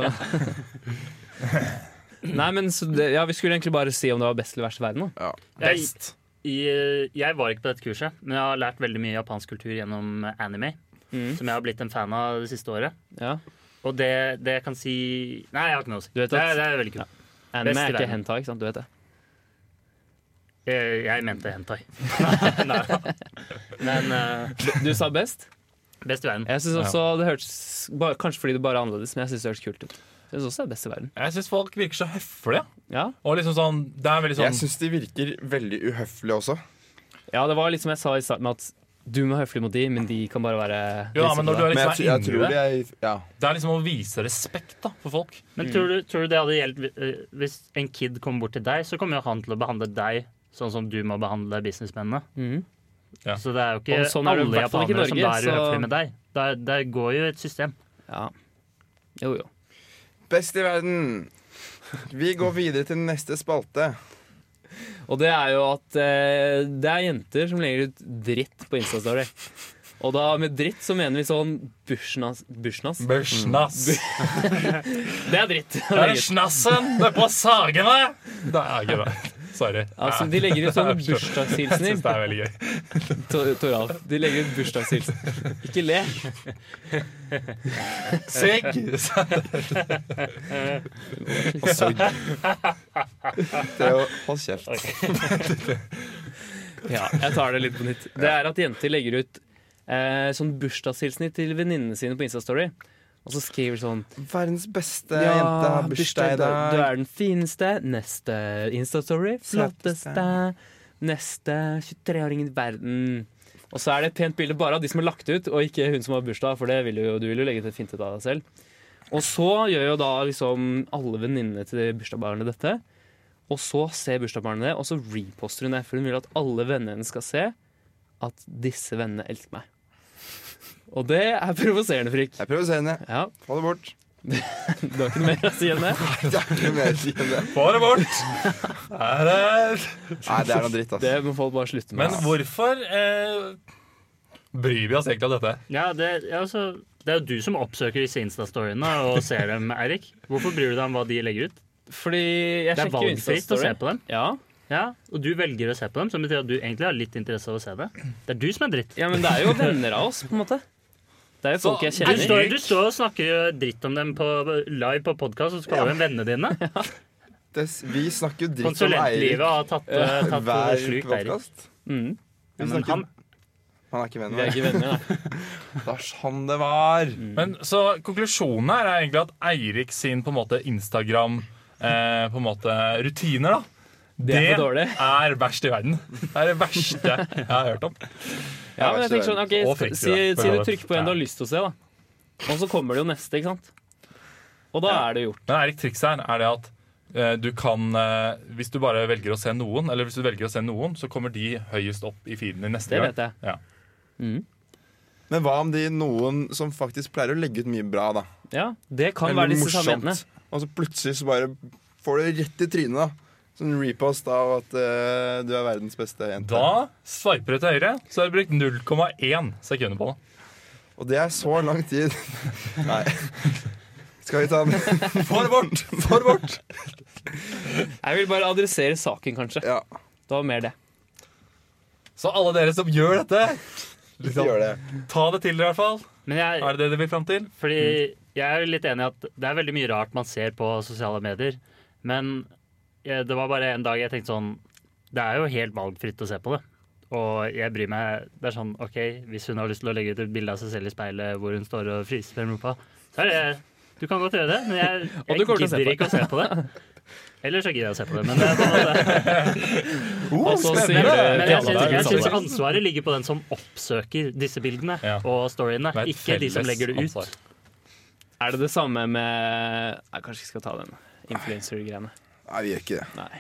Speaker 4: (laughs) Nei, men så det, ja, Vi skulle egentlig bare si om det var best eller verst i verden. Da.
Speaker 2: Ja.
Speaker 1: Jeg,
Speaker 3: Best.
Speaker 1: i- eh, jeg var ikke på dette kurset, men jeg har lært veldig mye japansk kultur gjennom anime,
Speaker 4: Mm.
Speaker 1: som jeg har blitt en fan av det siste året.
Speaker 4: Ja.
Speaker 1: Og det, det jeg kan si Nei, jeg har ikke noe å si.
Speaker 4: Du vet
Speaker 1: det,
Speaker 4: at-
Speaker 1: er- det er veldig kult.
Speaker 4: Anime
Speaker 1: Best i
Speaker 4: er ikke
Speaker 1: verden.
Speaker 4: henta, ikke sant? Du vet det.
Speaker 1: Jeg, Eh, jeg mente
Speaker 4: (laughs)
Speaker 1: hentai. nei, nei. Men eh,
Speaker 4: Du sa best.
Speaker 1: best i verden.
Speaker 4: Jeg synes også det hørtes bare, Kanskje fordi det bare er annerledes, men jeg syns det hørtes kult ut. Jeg synes også det er best i verden.
Speaker 3: Jeg syns folk virker så høflige.
Speaker 4: Ja,
Speaker 3: Og liksom sånn, det er veldig
Speaker 2: Jeg
Speaker 3: sånn
Speaker 2: syns de virker veldig uhøflige også.
Speaker 4: ja det var litt som jeg sa i starten, med at du må være høflig mot de, men de kan bare være
Speaker 3: Jo da, men når du er
Speaker 2: Men jeg,
Speaker 3: liksom
Speaker 2: tr- jeg
Speaker 3: er
Speaker 2: tror
Speaker 3: inni
Speaker 2: de
Speaker 3: det,
Speaker 2: er Ja.
Speaker 3: det er liksom å vise respekt da, for folk.
Speaker 1: Men tror du, tror du det hadde gjeldt eh, hvis en kid kom bort til deg, så kommer jo han til å behandle deg sånn som du må behandle businessmennene.
Speaker 4: Mhm.
Speaker 3: Ja.
Speaker 1: Så det er jo
Speaker 4: Og
Speaker 1: ikke
Speaker 4: sånn er det i
Speaker 1: alle
Speaker 4: hvert fall ikke i
Speaker 1: japanere som da
Speaker 4: Norge,
Speaker 1: er
Speaker 4: så-
Speaker 1: uhøflige med deg. Der, der går jo et system.
Speaker 4: ja. Jo, jo.
Speaker 2: Best i verden. Vi går videre til neste spalte.
Speaker 4: Og det er jo at eh, det er jenter som legger ut dritt på Instastory. Og da med dritt så mener vi sånn bursnas.
Speaker 2: Mm.
Speaker 4: bursnas. (laughs)
Speaker 3: Børsnass.
Speaker 4: Det er dritt. å
Speaker 3: Det er
Speaker 4: legge ut.
Speaker 3: snassen! Det er på sagene! Det er ikke bra. Sorry.
Speaker 4: Altså, de legger ut (laughs) sånne
Speaker 3: Jeg syns det
Speaker 4: bursdagshilsener.
Speaker 3: er veldig gøy.
Speaker 4: Tor- Toralf, de legger ut bursdagshilsen. Ikke le.
Speaker 3: Sigg!
Speaker 2: Theo, hold kjeft.
Speaker 4: Ja, jeg tar det litt på nytt. Det er at jenter legger ut eh, sånn bursdagshilsener til venninnene sine på Instastory. Og så skriver de sånn
Speaker 2: Verdens beste jente har bursdag i
Speaker 4: Du
Speaker 2: dag.
Speaker 4: er den fineste. Neste Insta-story. Flotteste. Neste 23-åringen i verden. Og så er det et pent bilde bare av de som har lagt det ut, og ikke hun som har bursdag. For det vil jo, du vil jo legge til fint ut av deg selv. Og så gjør jo da liksom alle venninnene til bursdagsbarnet dette. Og så ser bursdagsbarnet det, og så reposter hun det. For hun vil at alle vennene hennes skal se at disse vennene elsker meg. Og det er provoserende, Frikk.
Speaker 2: Jeg prøver å se henne.
Speaker 4: Ja,
Speaker 2: Få det bort.
Speaker 4: Du har ikke noe mer å si enn det?
Speaker 2: Det er ikke mer å si enn det.
Speaker 3: (laughs) Få det bort! Er det...
Speaker 2: Nei, det er noe dritt, ass.
Speaker 4: Det må folk bare slutte med.
Speaker 3: Men hvorfor eh, bryr vi oss egentlig om dette?
Speaker 1: Ja, det, ja, altså, det er jo du som oppsøker disse Insta-storyene og ser dem, Eirik. Hvorfor bryr du deg om hva de legger ut?
Speaker 4: Fordi jeg
Speaker 1: Det er
Speaker 4: sjekker jo
Speaker 1: valgfritt å
Speaker 4: Insta-story.
Speaker 1: se på dem,
Speaker 4: Ja.
Speaker 1: ja, og du velger å se på dem, som betyr at du egentlig har litt interesse av å se det. Det er du som er dritt.
Speaker 4: ja, men det er jo venner av oss, på en måte. Det er jo
Speaker 3: Så-
Speaker 4: folk jeg
Speaker 1: Du
Speaker 4: kjenner.
Speaker 1: står, du står og snakker dritt om dem på, live på podkast, og så kaller du dem vennene
Speaker 4: (laughs)
Speaker 1: dine.
Speaker 2: Det, vi snakker jo dritt om
Speaker 1: Konsulentlivet
Speaker 4: (laughs)
Speaker 2: Eirik
Speaker 1: har tatt, eh, tatt
Speaker 2: hver
Speaker 1: sluk, Eirik.
Speaker 2: podkast.
Speaker 4: Mm.
Speaker 1: Ja, men han,
Speaker 2: Han er ikke venn
Speaker 4: Vi
Speaker 2: med meg.
Speaker 4: er ikke (laughs) venner, da.
Speaker 2: Det er sånn det var!
Speaker 4: Mm.
Speaker 3: Men så konklusjonen her er egentlig at Eirik sin på en måte Instagram eh, på en måte rutiner, da.
Speaker 4: Det er for dårlig.
Speaker 3: er verst i verden. Det er det verste jeg har hørt om.
Speaker 4: Ja, men jeg tenker sånn,
Speaker 3: Og
Speaker 4: ok,
Speaker 3: frykter
Speaker 4: Si,
Speaker 3: det, for
Speaker 4: si du
Speaker 3: så vidt.
Speaker 4: trykker på en du har lyst til å se, da. Og så kommer det jo neste, ikke sant? Og da er det gjort.
Speaker 3: Men Eirik, trikset her er det at eh, du kan eh, Hvis du bare velger å se noen, eller hvis du velger å se noen, så kommer de høyest opp i feeden din neste
Speaker 4: Det
Speaker 3: gang.
Speaker 4: vet jeg.
Speaker 3: Ja.
Speaker 4: Mm.
Speaker 2: Men hva om de noen som faktisk pleier å legge ut mye bra, da?
Speaker 4: Ja, det kan
Speaker 2: Eller
Speaker 4: være sånn- disse samme jentene.
Speaker 2: Og så plutselig så bare får du rett i trynet, da. Sånn repost av at eh, du er verdens beste jente.
Speaker 3: Da sveiper du til høyre, så har du brukt 0,1 sekunder på det.
Speaker 2: Og det er så lang tid. (laughs) Nei. Skal vi ta den? For vårt! For vårt!
Speaker 4: Jeg vil bare adressere saken, kanskje.
Speaker 2: Ja,
Speaker 4: Det var mer det.
Speaker 3: Så alle dere som gjør dette,
Speaker 2: vi gjør det.
Speaker 3: ta det til dere i hvert fall.
Speaker 1: Men jeg,
Speaker 3: Er det det dere vil fram til?
Speaker 1: fordi jeg er litt enig i at det er veldig mye rart man ser på sosiale medier. Men jeg, det var bare en dag jeg tenkte sånn Det er jo helt valgfritt å se på det. Og jeg bryr meg Det er sånn OK, hvis hun har lyst til å legge ut et bilde av seg selv i speilet hvor hun står og fryser frem rumpa, så er det Du kan godt gjøre det, men jeg,
Speaker 4: (laughs) Og
Speaker 1: jeg
Speaker 4: du kommer til å se
Speaker 1: gidder
Speaker 4: på
Speaker 1: ikke å se på
Speaker 4: (laughs)
Speaker 1: det. Ellers så gidder jeg å se på det, men det er på en måte
Speaker 4: Og så sier
Speaker 1: Men,
Speaker 4: du
Speaker 1: men
Speaker 4: til
Speaker 1: jeg
Speaker 4: alle
Speaker 1: syns,
Speaker 4: der
Speaker 1: jeg
Speaker 4: ute
Speaker 1: syns
Speaker 4: at
Speaker 1: ansvaret ligger på den som oppsøker disse bildene
Speaker 3: Ja.
Speaker 1: og storyene.
Speaker 3: Det er et
Speaker 1: Ikke de som
Speaker 3: felles
Speaker 1: legger det ut.
Speaker 3: ansvar.
Speaker 4: Er det det samme med Nei, kanskje ikke skal ta den influencer-greiene.
Speaker 2: Nei, vi gjør ikke det.
Speaker 4: Nei.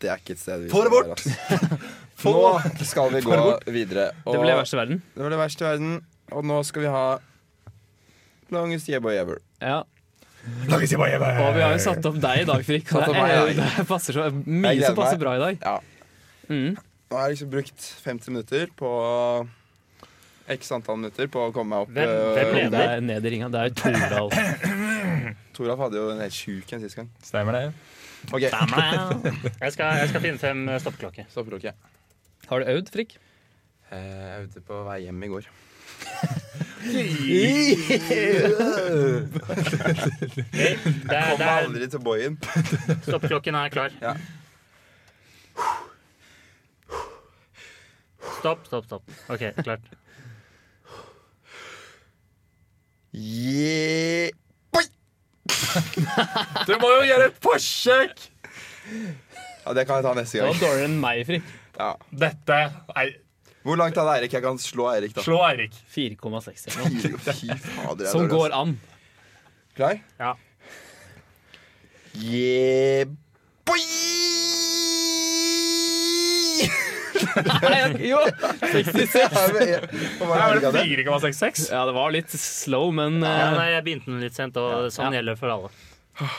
Speaker 2: Det er ikke et sted vi
Speaker 3: For
Speaker 2: skal
Speaker 3: vårt!
Speaker 2: være, ass. Nå skal vi gå videre.
Speaker 4: Det ble verst i verden.
Speaker 2: det var det verste i verden. Og nå skal vi ha Longest Yeboy Ever.
Speaker 4: Ja. Og vi har jo satt opp deg i dag, Frikk.
Speaker 2: Satt
Speaker 4: og
Speaker 2: opp
Speaker 4: Det,
Speaker 2: meg i
Speaker 4: er, jo-
Speaker 2: dag.
Speaker 4: det passer så
Speaker 2: Jeg
Speaker 4: mye som
Speaker 2: gleder
Speaker 4: passer
Speaker 2: meg.
Speaker 4: bra i dag.
Speaker 2: Ja.
Speaker 4: Mm.
Speaker 2: Nå har jeg liksom brukt 50 minutter på X antall minutter på å komme meg opp.
Speaker 1: Hvem- hvem
Speaker 2: eh,
Speaker 1: ble-
Speaker 4: Det er ned i ringa. Det er jo Toralf.
Speaker 2: Toralf hadde jo en helt sjuk en sist gang.
Speaker 3: Stemmer det.
Speaker 2: Ok,
Speaker 1: Jeg skal, jeg skal finne frem eh, stoppeklokke.
Speaker 2: stoppeklokke.
Speaker 4: Har du øvd, Frikk?
Speaker 2: Eh, Jeg øvde på vei hjem
Speaker 4: (laughs)
Speaker 2: i går.
Speaker 1: Det er,
Speaker 2: Kom
Speaker 1: det
Speaker 2: meg
Speaker 1: er,
Speaker 2: aldri til boyen.
Speaker 1: stoppeklokken er klar.
Speaker 2: Ja.
Speaker 1: Stopp, stopp, stopp. OK, klart.
Speaker 2: Yeah.
Speaker 3: Du må jo gjøre et forsøk!
Speaker 2: Ja, det kan jeg ta neste
Speaker 4: Det var
Speaker 2: gang.
Speaker 4: dårligere enn meg, Frikk.
Speaker 2: Ja.
Speaker 3: Dette Nei,
Speaker 2: Hvor langt hadde Eirik? Jeg kan slå Eirik, da.
Speaker 3: slå Eirik.
Speaker 4: 4,6 eller noe.
Speaker 2: Fy fy fader. jeg
Speaker 4: Som
Speaker 2: dør,
Speaker 4: går an.
Speaker 2: ass. Klar?
Speaker 1: Ja.
Speaker 2: Yeah. Boy!
Speaker 4: Nei, jo, 66.
Speaker 2: Ja, men jeg- Hva var det
Speaker 3: Er
Speaker 2: Eirik
Speaker 3: det
Speaker 2: hadde?
Speaker 3: 4,66?
Speaker 4: Ja, det var litt slow, men
Speaker 1: Ja,
Speaker 4: eh,
Speaker 1: nei, jeg begynte den litt sent, og sånn
Speaker 4: Ja.
Speaker 1: gjelder for alle.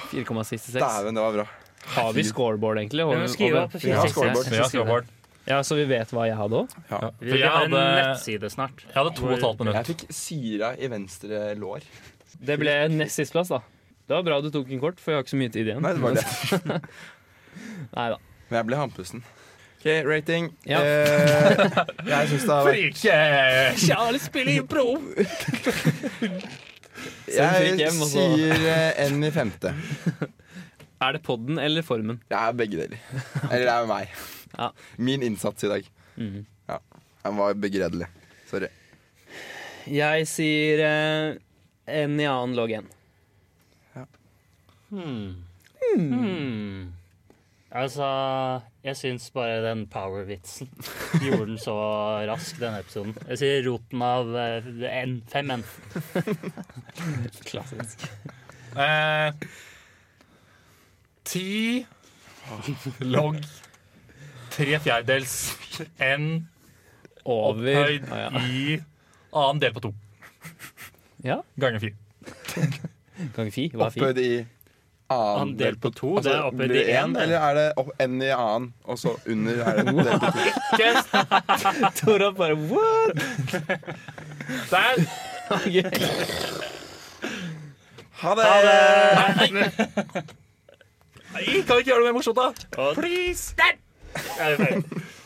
Speaker 4: 4,66.
Speaker 2: Dæven, det var bra.
Speaker 4: Har vi scoreboard, egentlig?
Speaker 1: Men Skriv opp
Speaker 2: Vi har
Speaker 1: 466,
Speaker 2: scoreboard.
Speaker 1: så skriver
Speaker 3: Ja,
Speaker 1: vi.
Speaker 3: scoreboard.
Speaker 4: Ja, Så vi vet hva jeg hadde òg?
Speaker 2: Ja.
Speaker 1: Vi
Speaker 3: jeg,
Speaker 1: vi har en
Speaker 3: hadde,
Speaker 1: nettside snart.
Speaker 3: jeg hadde to og et halvt
Speaker 2: Jeg
Speaker 3: minutt.
Speaker 2: fikk syra i venstre lår.
Speaker 4: Det ble nest sisteplass, da. Det var bra du tok en kort, for jeg har ikke så mye tid igjen.
Speaker 2: Nei, det var det.
Speaker 4: Neida.
Speaker 2: Men jeg ble handpusten. OK, rating.
Speaker 4: Ja.
Speaker 2: Eh, jeg syns det har vært
Speaker 3: Frike!
Speaker 4: Charles spiller i pro! Send
Speaker 2: Jeg
Speaker 4: Erik hjem, og så-
Speaker 2: sier eh, en i femte.
Speaker 4: Er det podden eller formen?
Speaker 2: Det er begge deler. Eller det er meg.
Speaker 4: Ja.
Speaker 2: Min innsats i dag.
Speaker 4: Mhm.
Speaker 2: Ja. Den var begredelig. Sorry.
Speaker 4: Jeg sier eh, en i annen logg en.
Speaker 1: Hmm. Hmm. Altså, jeg syns bare den power-vitsen gjorde den så rask, den episoden. Jeg sier roten av eh, en, fem n.
Speaker 4: Klassisk.
Speaker 3: Eh, Ti logg tre fjerdedels n
Speaker 4: Over.
Speaker 3: høyd
Speaker 4: Ah, ja.
Speaker 3: i annen del på to
Speaker 4: ja,
Speaker 3: ganger fire.
Speaker 4: kan ikke fi. Hva er fi?
Speaker 2: Opphøyd i annen
Speaker 1: Han
Speaker 2: del
Speaker 1: delt
Speaker 2: på
Speaker 1: på to, det er
Speaker 2: Altså, blir
Speaker 1: opphøyd i
Speaker 2: det
Speaker 1: én.
Speaker 2: én, eller er det opp, n i annen, og så under er det del
Speaker 1: (laughs)
Speaker 2: på to?
Speaker 3: Yes,
Speaker 4: (laughs) Toralf bare (laughs) what?
Speaker 3: der!
Speaker 4: Ok.
Speaker 2: Ha det!
Speaker 3: Nei, Kan vi ikke gjøre det mer morsomt, da?
Speaker 1: Og
Speaker 3: Please!
Speaker 1: er vi ferdig.